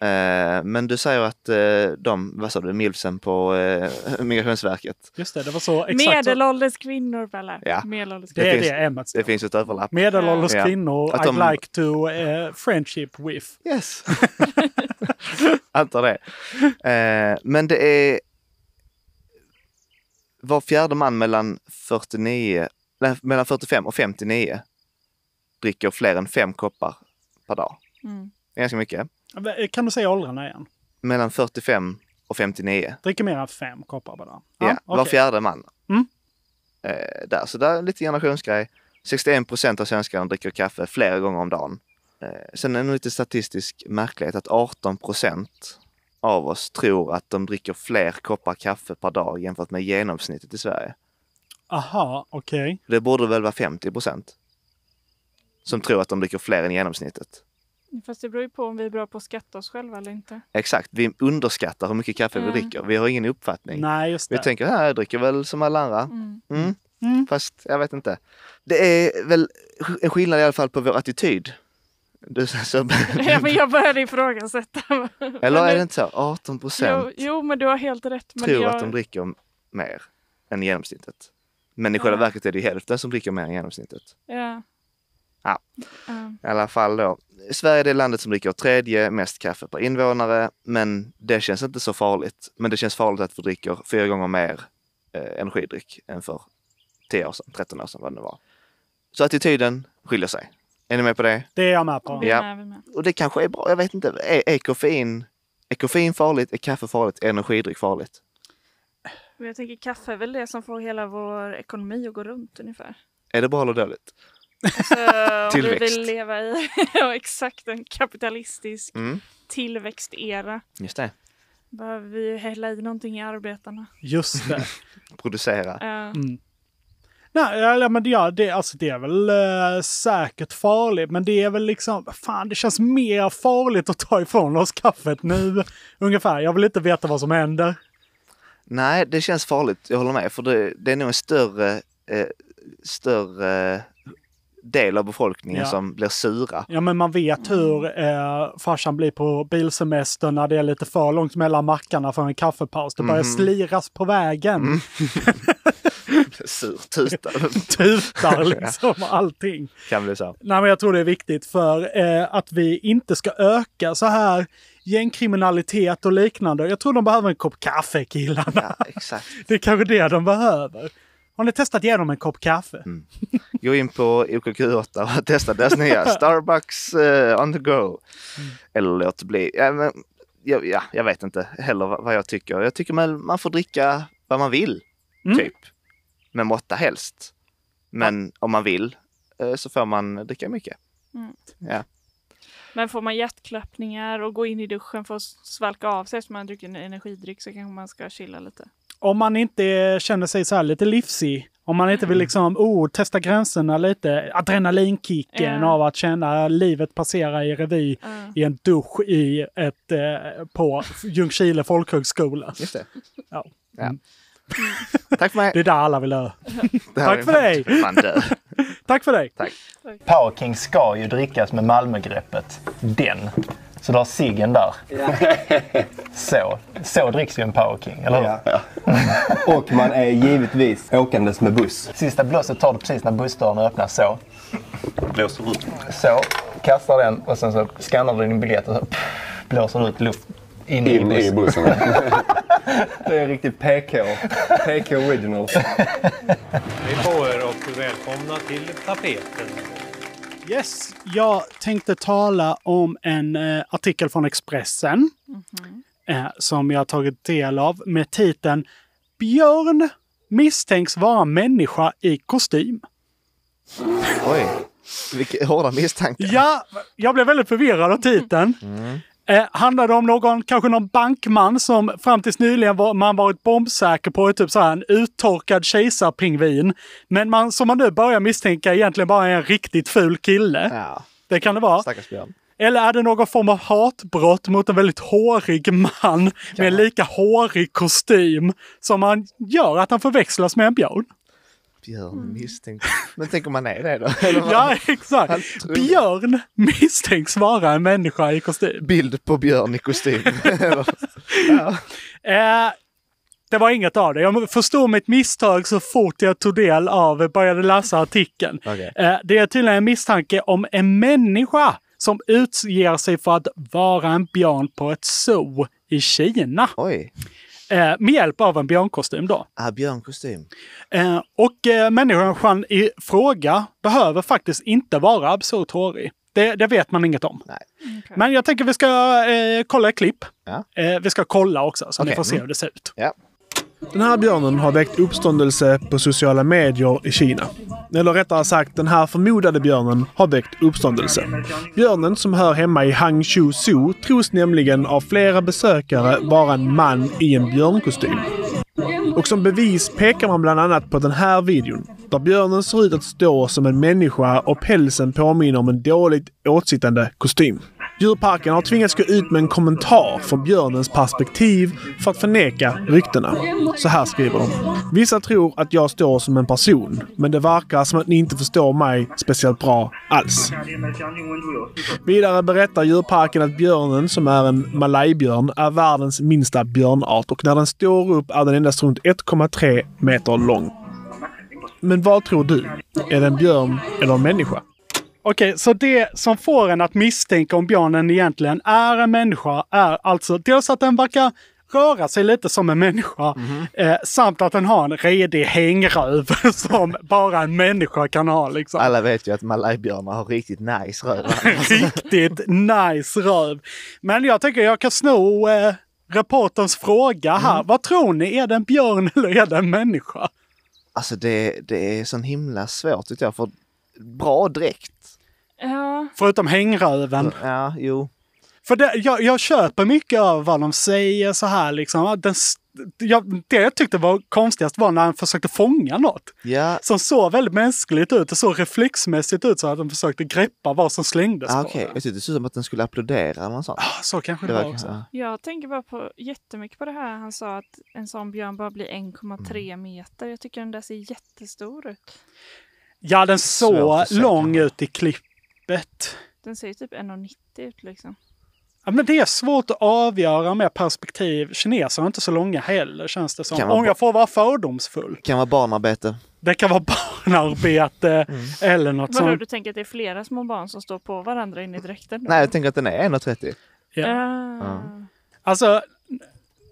Eh, men du säger att eh, de, vad sa du, milfsen på eh, Migrationsverket. Just det, det var så exakt så. Medelålders kvinnor, Bella. Ja. Medelålders Det är finns- det ämmet Det finns ett överlapp. Medelålders Ja. kvinnor, Att de- I'd like to eh, friendship with. Yes. Antar det. Eh, men det är var fjärde man mellan 49, nej, mellan 45 och 59 dricker fler än fem koppar per dag. Mm. Det är ganska mycket. eh, Kan du säga åldrarna igen? Mellan 45 och 59. Dricker mer än fem koppar bara. Ja, var okej. fjärde man. Mm. Eh, där, så där är lite generationsgrej. 61 procent av svenskarna dricker kaffe flera gånger om dagen. Eh, sen är det nog lite statistisk märklighet att 18 procent av oss tror att de dricker fler koppar kaffe per dag jämfört med genomsnittet i Sverige. Aha, okej. Det borde väl vara 50 procent som tror att de dricker fler än genomsnittet. Fast det beror ju på om vi är bra på att skatta oss själva eller inte. Exakt, vi underskattar hur mycket kaffe Mm. vi dricker. Vi har ingen uppfattning. Nej, just Vi det. tänker, "Ja, jag dricker väl som alla andra. Mm. Mm. Mm. Fast jag vet inte. Det är väl en skillnad i alla fall på vår attityd. Du, så, Ja, men jag började ifrågasätta. eller är det inte så? 18 jo, procent jo, men du har helt rätt. Men tror jag... att de dricker mer än genomsnittet. Men i själva Ja. verket är det ju hälften som dricker mer än genomsnittet. Ja. Ja. Ja. I alla fall då. Sverige är det landet som dricker tredje mest kaffe per invånare, men det känns inte så farligt. Men det känns farligt att vi dricker fyra gånger mer eh, energidryck än för 10 år sedan, 13 år sedan, vad det nu var. Så attityden skiljer sig. Är ni med på det? Det är jag med på. Vi är Ja. med, vi är med. Och det kanske är bra, jag vet inte. Är, är, koffein, är koffein farligt? Är kaffe farligt? Är energidryck farligt? Men jag tänker kaffe är väl det som får hela vår ekonomi att gå runt ungefär. Är det bra eller Så dåligt? Alltså, om vi Tillväxt. vill leva i ja, exakt en kapitalistisk Mm, tillväxtera just det. behöver vi ju hälla i någonting i arbetarna. Just det. Producera. Ja. Nej, ja, men det- ja, det, alltså, det är väl eh, säkert farligt, men det är väl liksom, fan det känns mer farligt att ta ifrån oss kaffet nu. Ungefär, jag vill inte veta vad som händer. Nej, det känns farligt. Jag håller med. För det, det är nog en större, eh, större del av befolkningen Ja. som blir sura. Ja, men man vet hur eh, farsan blir på bilsemester när det är lite för långt mellan mackarna för en kaffepaus. Det börjar sliras på vägen. Surtutar Tutar liksom allting. kan bli så. Nej, men jag tror det är viktigt för eh, att vi inte ska öka så här gängkriminalitet och liknande. Jag tror de behöver en kopp kaffe, killarna. Ja, exakt. Det är kanske det de behöver. Har ni testat ge dem en kopp kaffe? Mm. Gå in på OKQ8 och testa deras nya Starbucks eh, on the go. Eller låt bli. Ja, men, ja, ja, jag vet inte heller vad vad jag tycker. Jag tycker man, man får dricka vad man vill, Mm. typ. Med måtta helst. Men om man vill eh, så får man dricka mycket. Men får man hjärtklappningar och gå in i duschen för att svalka av sig eftersom man har druckit en energidryck så kanske man ska chilla lite. Om man inte känner sig så här lite livsig, om man inte vill liksom, oh, testa gränserna lite, adrenalinkicken Ja. av att känna livet passera i revy i en dusch i ett, eh, på Ljungskile folkhögskola. Just det. Ja. Ja. Tack för mig. Det är där alla vill dö. Det här Tack är för fan- dig! fan död. Tack för dig! Tack. Power King ska ju drickas med Malmögreppet. Den. Så du har ciggen där. Så. Så dricks ju en Power King, eller hur? Och man är givetvis åkandes med buss. Sista blåset tar du precis när bussdörren öppnas så. Blåser ut. Så. Kastar den och sen så skannar du din biljett och så pff, blåser ut luft in, In i bussen. det är riktigt PK. PK Original. Hej på er och välkomna till tapeten. Yes, jag tänkte tala om en eh, artikel från Expressen eh, som jag tagit del av med titeln Björn misstänks vara människa i kostym. Oj, vilka hårda misstankar. Ja, jag blev väldigt förvirrad av titeln. Eh, handlade om någon, kanske någon bankman som fram tills nyligen var, man varit bombsäker på är typ så här en uttorkad kejsarpingvin. Men man, som man nu börjar misstänka egentligen bara är en riktigt ful kille. Det kan det vara. Stackars Björn. Eller är det någon form av hatbrott mot en väldigt hårig man med en lika hårig kostym som man gör att han förväxlas med en björn? Mm. Björn misstänkt. Men tänk om man är det då? Eller vad? Ja, exakt. Björn misstänks vara en människa i kostym. Bild på björn i kostym. Eller- Eh, det var inget av det. Jag förstod mitt misstag så fort jag tog del av, började läsa artikeln. Okej. Eh, det är tydligen en misstanke om en människa som utger sig för att vara en björn på ett zoo i Kina. Eh, med hjälp av en björnkostym då. Ah, björnkostym. Eh, och eh, människan i fråga behöver faktiskt inte vara absurt hårig. Det, det vet man inget om. Men jag tänker vi ska eh, kolla ett klipp. Eh, vi ska kolla också så ni Okej, får se mm. hur det ser ut. Den här björnen har väckt uppståndelse på sociala medier i Kina. Eller rättare sagt, den här förmodade björnen har väckt uppståndelse. Björnen som hör hemma i Hangzhou Zoo tros nämligen av flera besökare vara en man i en björnkostym. Och som bevis pekar man bland annat på den här videon. Där björnen ser ut att stå som en människa och pälsen påminner om en dåligt åtsittande kostym. Djurparken har tvingats gå ut med en kommentar från björnens perspektiv för att förneka ryktena. Så här skriver de. Vissa tror att jag står som en person, men det verkar som att ni inte förstår mig speciellt bra alls. Vidare berättar djurparken att björnen, som är en malajbjörn, är världens minsta björnart och när den står upp är den endast runt 1,3 meter lång. Men vad tror du? Är det en björn eller en människa? Okej, så det som får en att misstänka om björnen egentligen är en människa är alltså dels att den verkar röra sig lite som en människa Mhm. eh, samt att den har en redig hängröv som bara en människa kan ha. Liksom. Alla vet ju att malajbjörnar har riktigt nice röv. Riktigt nice röv. Men jag tänker jag kan sno eh, reporterns fråga här. Vad tror ni? Är det en björn eller är det en människa? Alltså det, det är sån himla svårt tycker jag. För bra dräkt. Ja, Förutom hängröven. Ja, jo. För det, jag, jag köper mycket av vad de säger så här liksom. Att Den, s- jag, det jag tyckte var konstigast var när han försökte fånga något. Ja. Som såg väldigt mänskligt ut och såg reflexmässigt ut så att de försökte greppa vad som slängdes Ah, på. Okej, jag tyckte det såg ut som att den skulle applådera eller något sånt. Så kanske Ah, det, var också. Jag tänker bara på jättemycket på det här han sa att en sån björn bara blir 1,3 Mm. meter. Jag tycker den där ser jättestor ut. Ja, den Svårt såg att säga, lång ut i klippet. Den ser ju typ 1,90 ut liksom. Ja, men det är svårt att avgöra med perspektiv. Kineser är inte så långa heller känns det som. Kan vara Om jag får vara fördomsfull. Kan vara barnarbete. Det kan vara barnarbete Mm. eller något Vadå, sånt. du tänker att det är flera små barn som står på varandra inne i dräkten? då? Nej, jag tänker att den är 1,30. Ja. Ah. Alltså,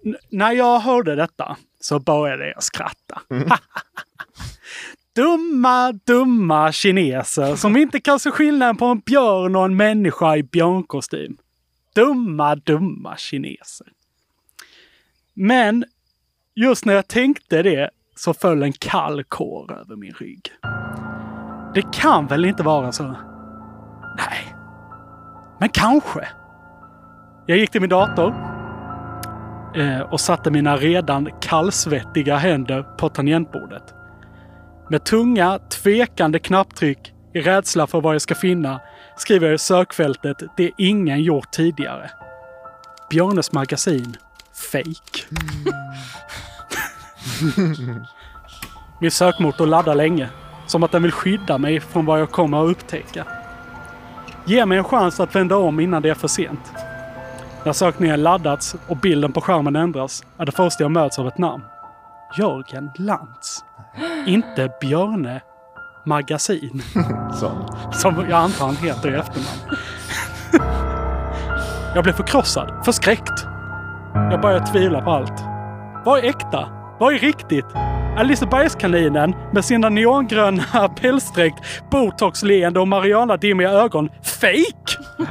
n- när jag hörde detta så började jag skratta. dumma, dumma kineser som inte kan se skillnaden på en björn och en människa i björnkostym. Dumma, dumma kineser. Men just när jag tänkte det så föll en kall kår över min rygg. Det kan väl inte vara så? Nej, Men kanske. Jag gick till min dator eh, och satte mina redan kallsvettiga händer på tangentbordet. Med tunga, tvekande knapptryck i rädsla för vad jag ska finna skriver jag i sökfältet det ingen gjort tidigare. Björnes magasin. Fake. Min sökmotor laddar länge. Som att den vill skydda mig från vad jag kommer att upptäcka. Ge mig en chans att vända om innan det är för sent. När sökningen laddats och bilden på skärmen ändras är det första jag möts av ett namn. Jörgen Lantz. Inte Björne Magasin. Så. Som jag antar han heter i efternamn. Jag blev förkrossad, förskräckt. Jag började tvivla på allt. Vad är äkta? Vad är riktigt? Är Lisebergskaninen med sina neongröna pälsstreck, botoxleende och marijuanadimmiga ögon fake?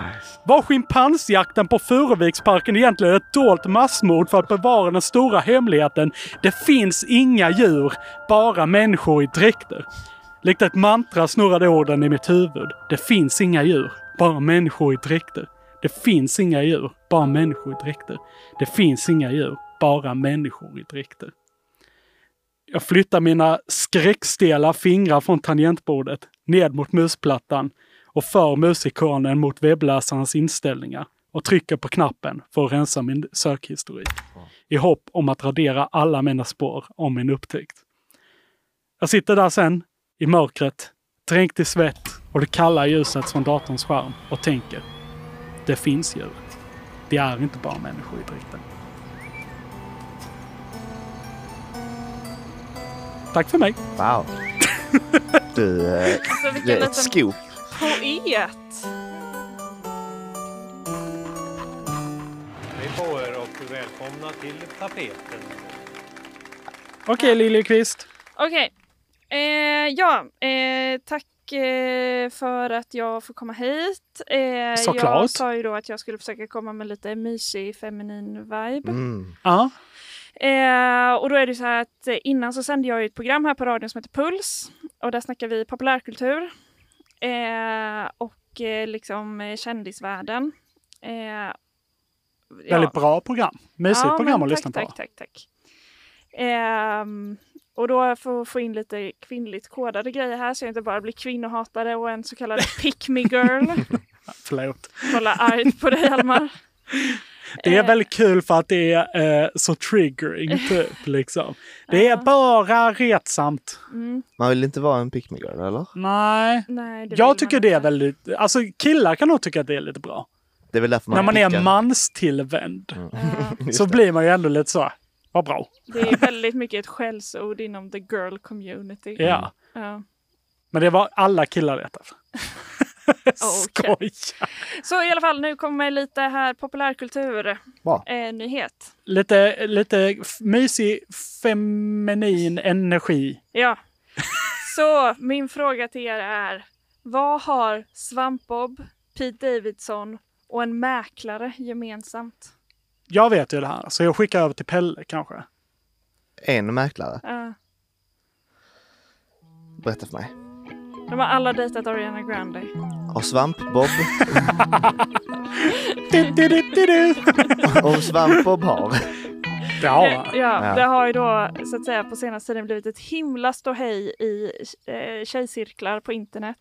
Var schimpansjakten på Furuviksparken egentligen ett dolt massmord för att bevara den stora hemligheten? Det finns inga djur, bara människor i dräkter. Likt ett mantra snurrade orden i mitt huvud. Det finns inga djur, bara människor i dräkter. Det finns inga djur, bara människor i dräkter. Det finns inga djur, bara människor i dräkter. Jag flyttar mina skräckstela fingrar från tangentbordet ned mot musplattan och för musikonen mot webbläsarens inställningar och trycker på knappen för att rensa min sökhistorik i hopp om att radera alla mina spår om min upptäckt. Jag sitter där sen, i mörkret, dränkt i svett och det kalla ljuset från datorns skärm och tänker. Det finns djur. Det är inte bara människor i dräkten. Tack för mig. Wow. Du, eh, Alltså, vilken det är liten- ett scoop. Poet! Hej på er och välkomna till tapeten. Okej, Liljekvist. Okej. Eh, ja, eh, tack eh, för att jag får komma hit. Eh, Såklart. Jag sa ju då att jag skulle försöka komma med lite mysig feminin vibe. Mm. Ja. Eh, och då är det så här att eh, innan så sände jag ju ett program här på radion som heter Puls och där snackar vi populärkultur eh, och eh, liksom eh, kändisvärlden. Eh, ja. Väldigt bra program. Mysigt Ja, program men att lyssna tack, på. Tack, tack, tack. Ehm, och då för att få in lite kvinnligt kodade grejer här så jag inte bara blir kvinnohatare och en så kallad pick me girl. Förlåt. Kolla argt på dig Almar. Det är Eh. väldigt kul för att det är eh, så triggering, typ. Liksom. Det är bara retsamt. Mm. Man vill inte vara en pick me girl, eller? Nej. Nej, det Jag tycker det är väldigt... Alltså killar kan nog tycka att det är lite bra. Det är väl därför man När man är pickar. Mm. manstillvänd Just så det. blir man ju ändå lite så... Vad bra. Det är väldigt mycket ett skällsord inom the girl community. Mm. Ja. Ja. Men det var alla killar rätt efter. Oh, Okej. Så i alla fall, nu kommer lite här populärkultur. Bra. Eh, nyhet. Lite, lite f- mysig feminin energi. Ja. Så min fråga till er är, vad har Svampbob, Pete Davidson och en mäklare gemensamt? Jag vet ju det här, så jag skickar över till Pelle kanske. En mäklare. Ja. Berätta för mig. de har alla dejtat Ariana Grande. Och Svamp-Bob. Om Svamp-Bob har. Det Eh, ja, det har ju då så att säga på senaste tiden blivit ett himla ståhej i eh, tjejcirklar på internet.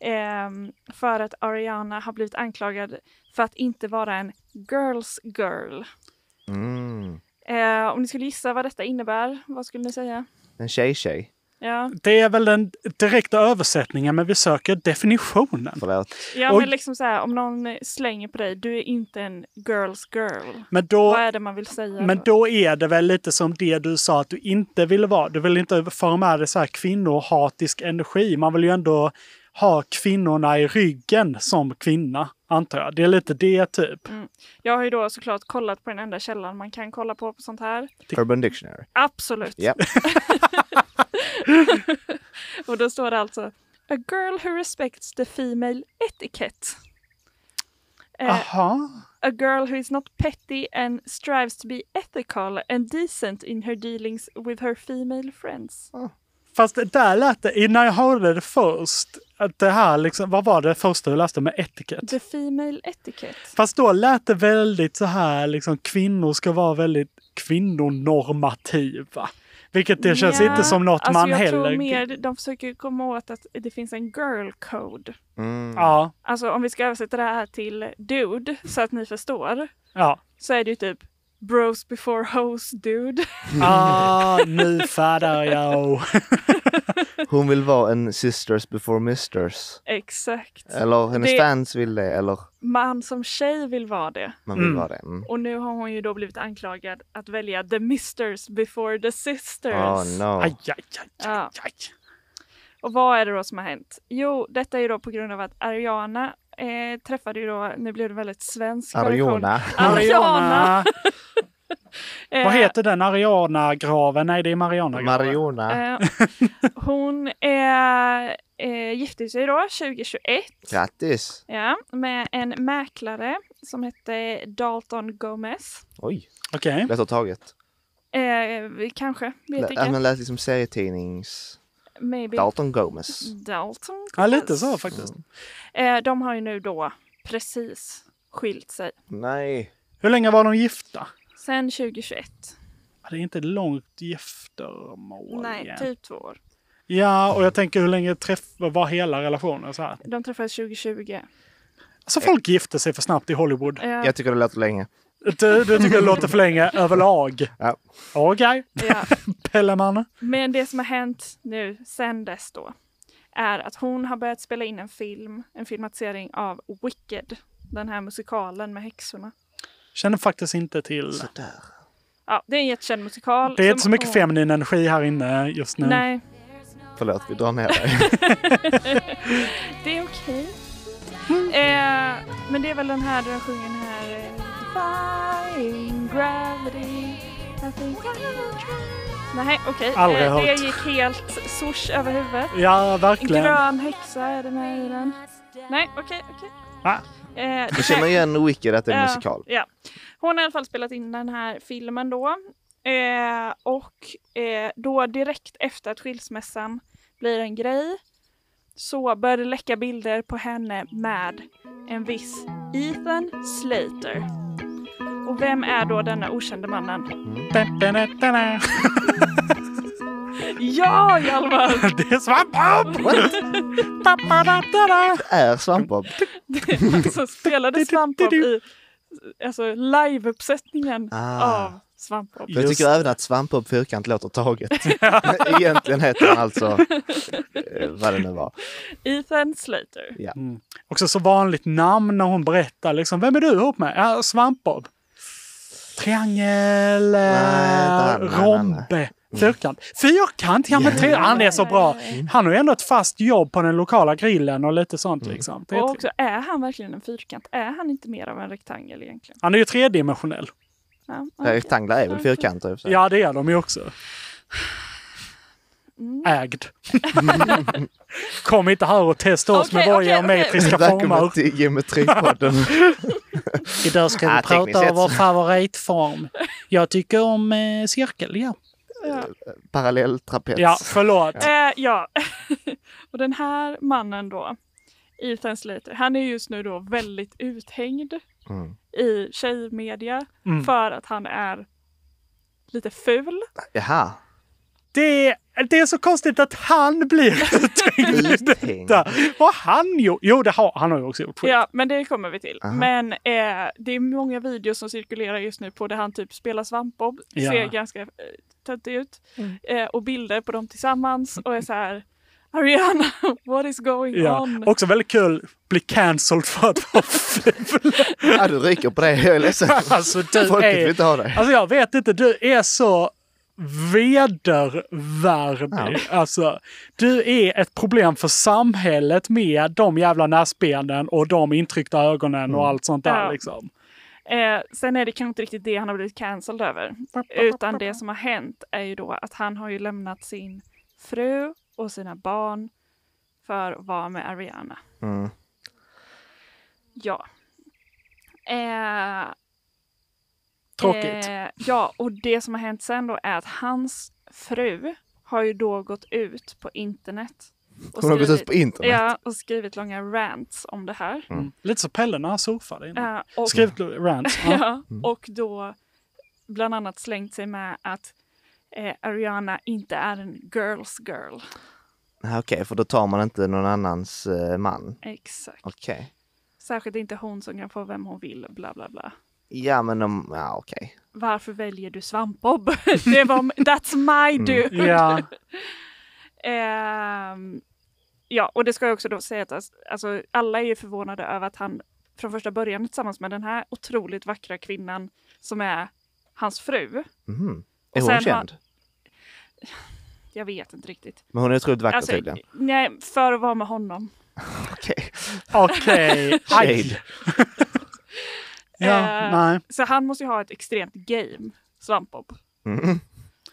ehm, för att Ariana har blivit anklagad för att inte vara en girls girl. Mm. Eh, om ni skulle gissa vad detta innebär, vad skulle ni säga? En tjej-tjej. Ja, Det är väl den direkta översättningen, men vi söker definitionen. Förlåt. ja Och, men liksom så här, om någon slänger på dig, du är inte en girls girl. Men då- vad är det man vill säga? men då är det väl lite som det du sa att du inte ville vara. Du vill inte föra med dig så här kvinnohatisk energi. Man vill ju ändå ha kvinnorna i ryggen som kvinna, antar jag. Det är lite det, typ. Mm. Jag har ju då såklart kollat på den enda källan man kan kolla på på sånt här. Urban Dictionary. Absolut. Ja. Och då står det alltså A girl who respects the female etiquette. Eh, Aha. A girl who is not petty and strives to be ethical and decent in her dealings with her female friends. Fast det där lät det, när jag hörde det först att det här, liksom, vad var det första du läste med etikett? The female etiquette. Fast då lät det väldigt så här, liksom, kvinnor ska vara väldigt kvinnonormativa. Vilket det känns Nja, inte som något alltså man jag heller... Tror mer, de försöker komma åt att det finns en girl code. Ja, Alltså om vi ska översätta det här till dude så att ni förstår. ja. Så är det ju typ bros before hoes dude. Ah, nu fattar jag. Hon vill vara en sisters before misters. Exakt. Eller hennes Det- fans vill det, eller Man som tjej vill vara det. man vill vara det. Mm. Och nu har hon ju då blivit anklagad att välja the misters before the sisters. Oh no. Aj, aj, aj. Ja. Och vad är det då som har hänt? Jo, detta är ju då på grund av att Ariana eh, träffade ju då, nu blev det väldigt svensk version. Ariana. Ariana. Eh, Vad heter den? Ariana-graven? Nej, det är Mariana-graven. Mariona. eh, Hon eh, eh, gifte sig då 2021 Grattis! ja, med en mäklare som hette Dalton Gomez. Oj, Okej. lätt taget. Eh, kanske, vet Lä- äh, inte. men lät liksom serietidnings... Maybe. Dalton Gomez. Dalton Ja, lite så faktiskt. Eh, de har ju nu då precis skilt sig. Nej. Hur länge var de gifta? Sen 2021. Ja, Det är inte långt giftermål. Nej, egentligen. typ två år. Ja, och jag tänker hur länge träff var hela relationen så här? De träffades 2020. Alltså folk gifter sig för snabbt i Hollywood. Ja. Jag tycker det låter länge. Du, du tycker det låter för länge överlag? Ja. Okej. Ja. Pelleman. Men det som har hänt nu sen dess då är att hon har börjat spela in en film, en filmatisering av Wicked. Den här musikalen med häxorna. Känner faktiskt inte till. Ja, det är en jättekänd musikal. Det är som inte så mycket hon- feminin energi här inne just nu. Nej, Förlåt, vi drar ner dig. det är okej. Mm. Eh, men det är väl den här där de sjunger den här eh, Defying Gravity. I think I'm trying. Nej, okej. Aldrig Eh, det hört. gick helt swoosh över huvudet. Ja, En verkligen. grön häxa är det med i den. Nej, okej, okej. Va? Eh, Du känner igen Wicked att det är en Ja, musikal. Ja. Hon har i alla fall spelat in den här filmen då. Eh, och eh, då direkt efter att skilsmässan blir en grej så börjar det läcka bilder på henne med en viss Ethan Slater. Och vem är då denna okände mannen? Da-da-da-da-da. Ja, Hjalmar! Det är svampbob! Da-da-da-da. Är svampbob. Som spelade Svampbob i alltså, liveuppsättningen Ah. av Svampbob. Jag tycker även att Svampbob Fyrkant låter taget. Egentligen heter han alltså eh, vad det nu var. Ethan Slater. Ja. Mm. Också så vanligt namn när hon berättar. Liksom, Vem är du ihop med? Ja, Svampbob. Triangel, nej, eh, nej, nej. rombe, fyrkant. Fyrkant! Ja, men tre, han är så bra. Mm. Han har ju ändå ett fast jobb på den lokala grillen och lite sånt. Mm. Liksom. Det är Och tre- också, är han verkligen en fyrkant? Är han inte mer av en rektangel egentligen? Han är ju tredimensionell. Ja, okej. Rektanglar är väl fyrkanter i och för sig. Ja, det är de ju också. Mm. Ägd. Kom inte här och testa oss Okej, med våra okej, okej. geometriska former. Välkommen till Geometripodden. Idag ska vi Ah, tekniskt prata om sett vår så- favoritform. Jag tycker om eh, cirkel, ja. Parallelltrapets. Ja, förlåt. Eh, ja. och den här mannen då, Ethan Slater, han är just nu då väldigt uthängd Mm. i tjejmedia Mm. för att han är lite ful. Jaha. Det, det är så konstigt att han blir uthängd i detta. Vad har han gjort? Jo, det har, han har ju också gjort skit. Ja, men det kommer vi till. Aha. Men eh, det är många videos som cirkulerar just nu på där han typ spelar svampbob, Ja. ser ganska eh, töntig ut, eh, och bilder på dem tillsammans och är så här Ariana, what is going Ja. on? Också väldigt kul, bli cancelled för att vara ful. Ja, du rycker på det. Jag är ledsen. Alltså, du Folket är- vill inte ha dig. Alltså jag vet inte, du är så vedervärdig. Alltså, du är ett problem för samhället med de jävla näsbenen och de intryckta ögonen Mm. och allt sånt där. Ja. Liksom. Eh, sen är det kanske inte riktigt det han har blivit cancelled över. Utan det som har hänt är ju då att han har ju lämnat sin fru och sina barn för att vara med Ariana. Mm. Ja. Eh, Tråkigt. Eh, ja, och det som har hänt sen då är att hans fru har ju då gått ut på internet och Hon har gått skrivit- ut på internet. Ja, och skrivit långa rants om det här. Lite så Pelle när han surfade Mm. innan. Ja, och- Skrivit rant. Ja. Och då bland annat slängt sig med att eh, Ariana inte är en girls girl. Nej, Okej, för då tar man inte någon annans eh, man. Exakt. Okej. Särskilt inte hon som kan få vem hon vill, bla bla bla. Ja, men de, ja okej. Varför väljer du svampbob? det var, that's my Mm. dude! Ja. typ. Ehm, ja, och det ska jag också då säga att as- alltså, alla är ju förvånade över att han från första början är tillsammans med den här otroligt vackra kvinnan som är hans fru. Mhm. Och Är hon sen har- känd? Jag vet inte riktigt. Alltså, Men hon är otroligt vacker tydligen. Nej, för att vara med honom. Okej, aj! ja, Eh, nej. Så han måste ju ha ett extremt game, Svampbob. Mm.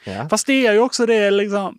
Ja. Fast det är ju också det liksom...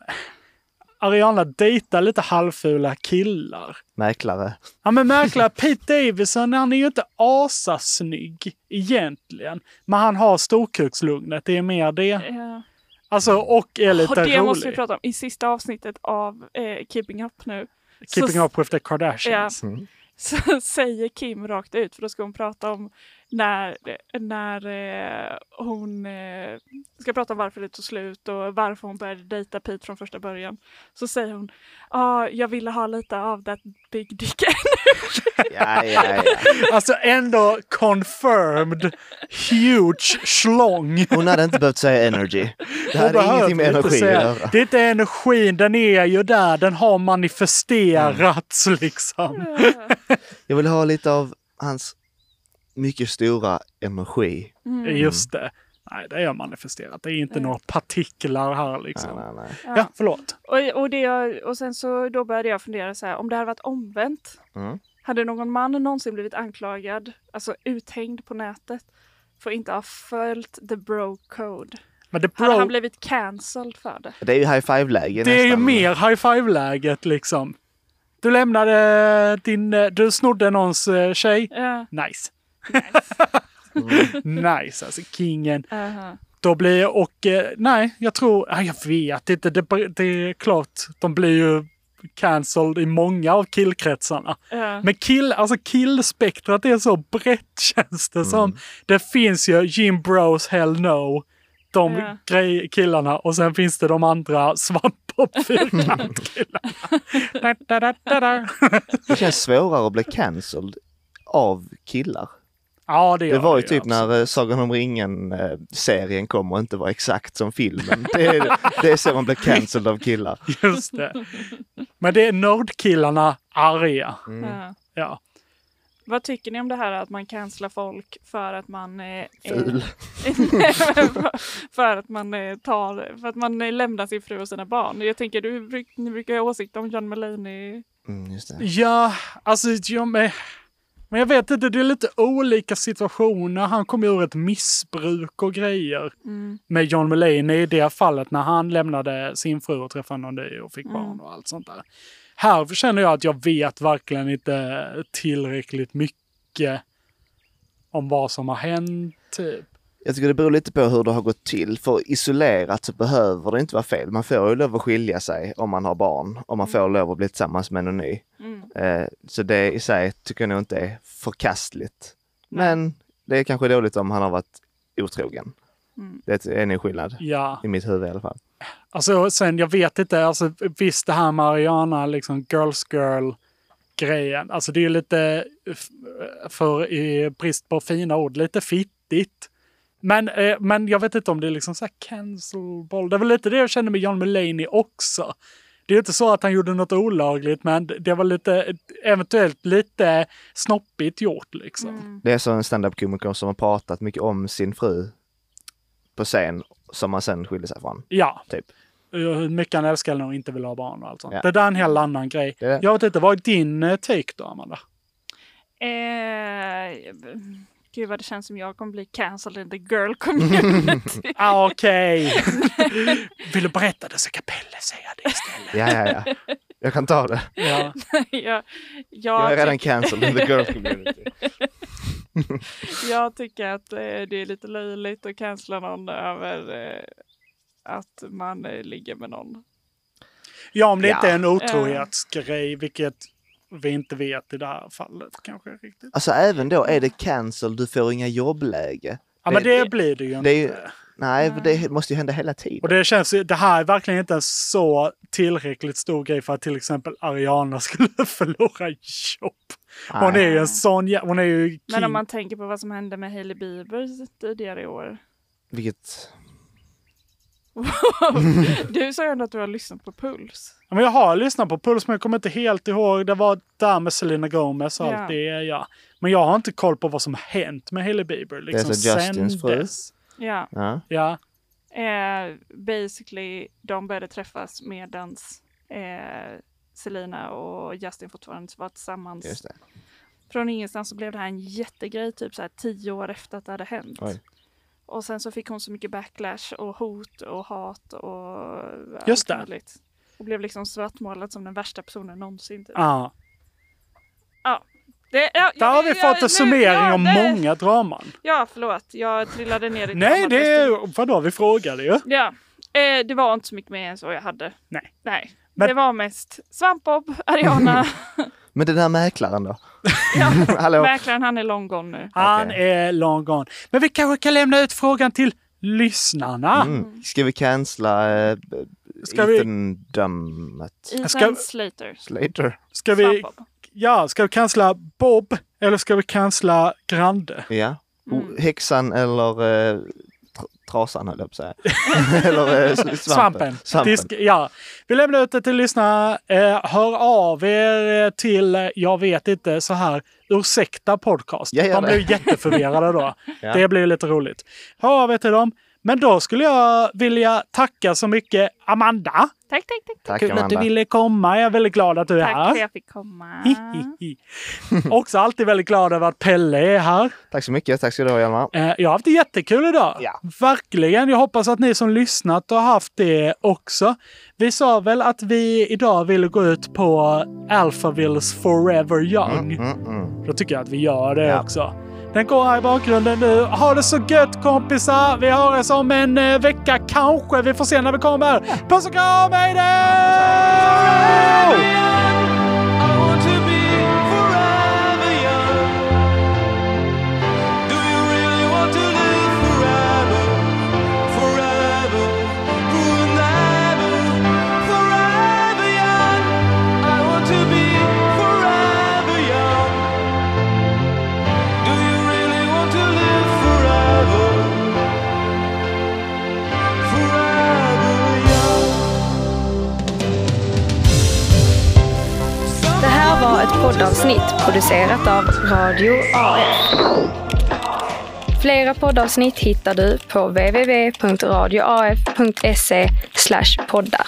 Ariana dejtar lite halvfula killar. Mäklare. Ja men mäklare Pete Davidson, han är ju inte asasnygg egentligen. Men han har storkukslugnet, det är mer det. Ja. Alltså och är lite Och Eh. det rolig. måste vi prata om i sista avsnittet av eh, Keeping Up nu. Keeping så, up with the Kardashians. Ja. Så säger Kim rakt ut, för då ska hon prata om när, när eh, hon eh, ska prata om varför det tog slut och varför hon började dejta Pete från första början. Så säger hon, ja, jag ville ha lite av that big dick energy. Ja, ja, ja. Alltså ändå confirmed huge schlong. Hon hade inte behövt säga energy. Det Hon här är behöver ingenting med inte energi att säga- göra. Det är inte energin, den är ju där, den har manifesterats Mm. liksom. Jag vill ha lite av hans mycket stora energi. Mm. Just det. Nej, det är manifesterat. Det är inte några partiklar här liksom. Nej, nej, nej. Ja, förlåt. Och, och, det, jag- och sen så då började jag fundera så här, om det hade varit omvänt, Mm. hade någon man någonsin blivit anklagad, alltså uthängd på nätet, för att inte ha följt the bro code? Men the Hade bro- han blivit cancelled för det? Det är ju high five-läge Det är ju nästan. mer high five-läget liksom. Du lämnade din... eh, Du snodde någons eh, tjej. Ja. Nice. nice, alltså kingen. Aha. Då blir jag, och eh, nej, jag tror, ja, jag vet inte, det, det är klart, de blir ju cancelled i många av killkretsarna. Ja. Men kill, alltså killspektrat är så brett känns det Mm. som. Det finns ju Jim Bros, Hell No, de Ja. grej, killarna och sen finns det de andra Mm. svampop-fyrkantkillarna. Det känns svårare att bli cancelled av killar. ja, det, Det, gör var ju det, alltså. typ absolut. när eh, Sagan om ringen-serien kom och inte var exakt som filmen. Det är, det är så man blir cancelled av killar. Just det. Men det är nördkillarna arga. Mm. Ja. Ja. Vad tycker ni om det här att man cancelar folk för att man... Eh, Ful. eh, nej, men för att man eh, tar, för att man eh, lämnar sin fru och sina barn. Jag tänker, du, bruk- ni brukar ju ha åsikter om John Mulaney. Mm, just det. Ja, alltså jag med. Men jag vet inte, det är lite olika situationer. Han kom ur ett missbruk och grejer Mm. med John Mulaney i det fallet när han lämnade sin fru och träffade någon ny och fick barn och allt sånt där. Här känner jag att jag vet verkligen inte tillräckligt mycket om vad som har hänt. Typ. Jag tycker det beror lite på hur det har gått till, för isolerat så behöver det inte vara fel. Man får ju lov att skilja sig om man har barn och man får lov att bli tillsammans med någon ny. Mm. Eh, Så det i sig tycker jag nog inte är förkastligt. Men det är kanske dåligt om han har varit otrogen. Mm. Det är en skillnad Ja. i mitt huvud i alla fall. Alltså sen, jag vet inte, alltså visst det här med Ariana, liksom girls girl grejen, alltså det är ju lite, f- för i brist på fina ord, lite fittigt. Men, eh, men jag vet inte om det är liksom så här cancelball. Det var lite det jag kände med John Mulaney också. Det är ju inte så att han gjorde något olagligt, men det var lite, eventuellt lite snoppigt gjort liksom. Mm. Det är så en standup-komiker som har pratat mycket om sin fru på scen som han sen skiljer sig från. Ja. eh, Typ. Hur mycket han älskar henne och inte vill ha barn och allt sånt. Ja. Det där är en helt annan grej. Jag vet inte, vad är din eh, take då, Amanda? Eh, gud vad det känns som jag kommer bli cancelled in the girl community. ah, Okej. Vill du berätta det så kan Pelle säga det istället. Ja, ja, ja. Jag kan ta det. Ja. jag, jag, Jag är redan tycker- cancelled in the girl community. jag tycker att eh, det är lite löjligt att cancella någon över eh, att man eh, ligger med någon. Ja, om det inte Ja. är en otrohetsgrej, vilket vi inte vet i det här fallet kanske riktigt. Alltså även då är det cancel, du får inga jobbläge. Ja, men det blir det ju det är ju, Nej, för det måste ju hända hela tiden. Och det känns ju, det här är verkligen inte en så tillräckligt stor grej för att till exempel Ariana skulle förlora jobb. Hon är ju en sån jä- hon är ju king. Men Typ. om man tänker på vad som hände med Hailey Bieber tidigare i år. Vilket... du sa ju ändå att du har lyssnat på Puls. Ja, men jag har lyssnat på Puls men jag kommer inte helt ihåg. Det var där med Selena Gomez och Ja. allt det. Ja. Men jag har inte koll på vad som hänt med Hailey Bieber. Liksom, det är så Justins sen fru. dess. Ja. Ja. Ja. Eh, basically, de började träffas medans eh, Selina och Justin fortfarande var tillsammans. Just det. Från ingenstans så blev det här en jättegrej, typ så här tio år efter att det hade hänt. Oj. Och sen så fick hon så mycket backlash och hot och hat och allt Just det. möjligt. Och blev liksom svartmålad som den värsta personen någonsin. Typ. Ja. Ja. Det, ja, Ah, Där har vi fått en summering om det- många draman. Ja, förlåt. Jag trillade ner i Nej, det är vadå, vi frågade ju. Ja, eh, det var inte så mycket mer än så jag hade. Nej. Nej. Men- Det var mest Svampbob, Ariana. Men den här mäklaren då? Hallå? Mäklaren, han är long gone nu. Han är long gone. Men vi kanske kan lämna ut frågan till lyssnarna. Mm. Ska vi cancella eh, b- Ska vi- Ethan Dummett? Ethan Ska- Slater. Slater? Ska vi, ja, ska vi cancella Bob eller ska vi cancella Grande? Ja. Mm. O- Häxan eller eh, tr- trasan höll jag på att säga. eller eh, s- svampen. Svampen. Disk, ja. Vi lämnar ut det till lyssnarna. Eh, hör av er eh, till, eh, jag vet inte, så här, ursäkta podcast. Jag gör De det. blir jätteförvirrade då. Ja. Det blir lite roligt. Hör av er till dem. Men då skulle jag vilja tacka så mycket Amanda. Tack, tack, tack. Tack Kul att du Amanda. ville komma. Jag är väldigt glad att du är Tack för här. att jag fick komma. Också alltid väldigt glad över att Pelle är här. Tack så mycket. Tack ska du ha Hjalmar. Eh, Jag har haft det jättekul idag. Verkligen. Jag hoppas att ni som lyssnat har haft det också. Vi sa väl att vi idag vill gå ut på Alphavilles Forever Young. Då tycker jag att vi gör det också. Den går här i bakgrunden nu. Ha det så gött kompisar! Vi hörs om en eh, vecka kanske. Vi får se när vi kommer. Puss och kram! Hej då! Det här var ett poddavsnitt producerat av Radio AF. Flera poddavsnitt hittar du på www.radioaf.se E poddar.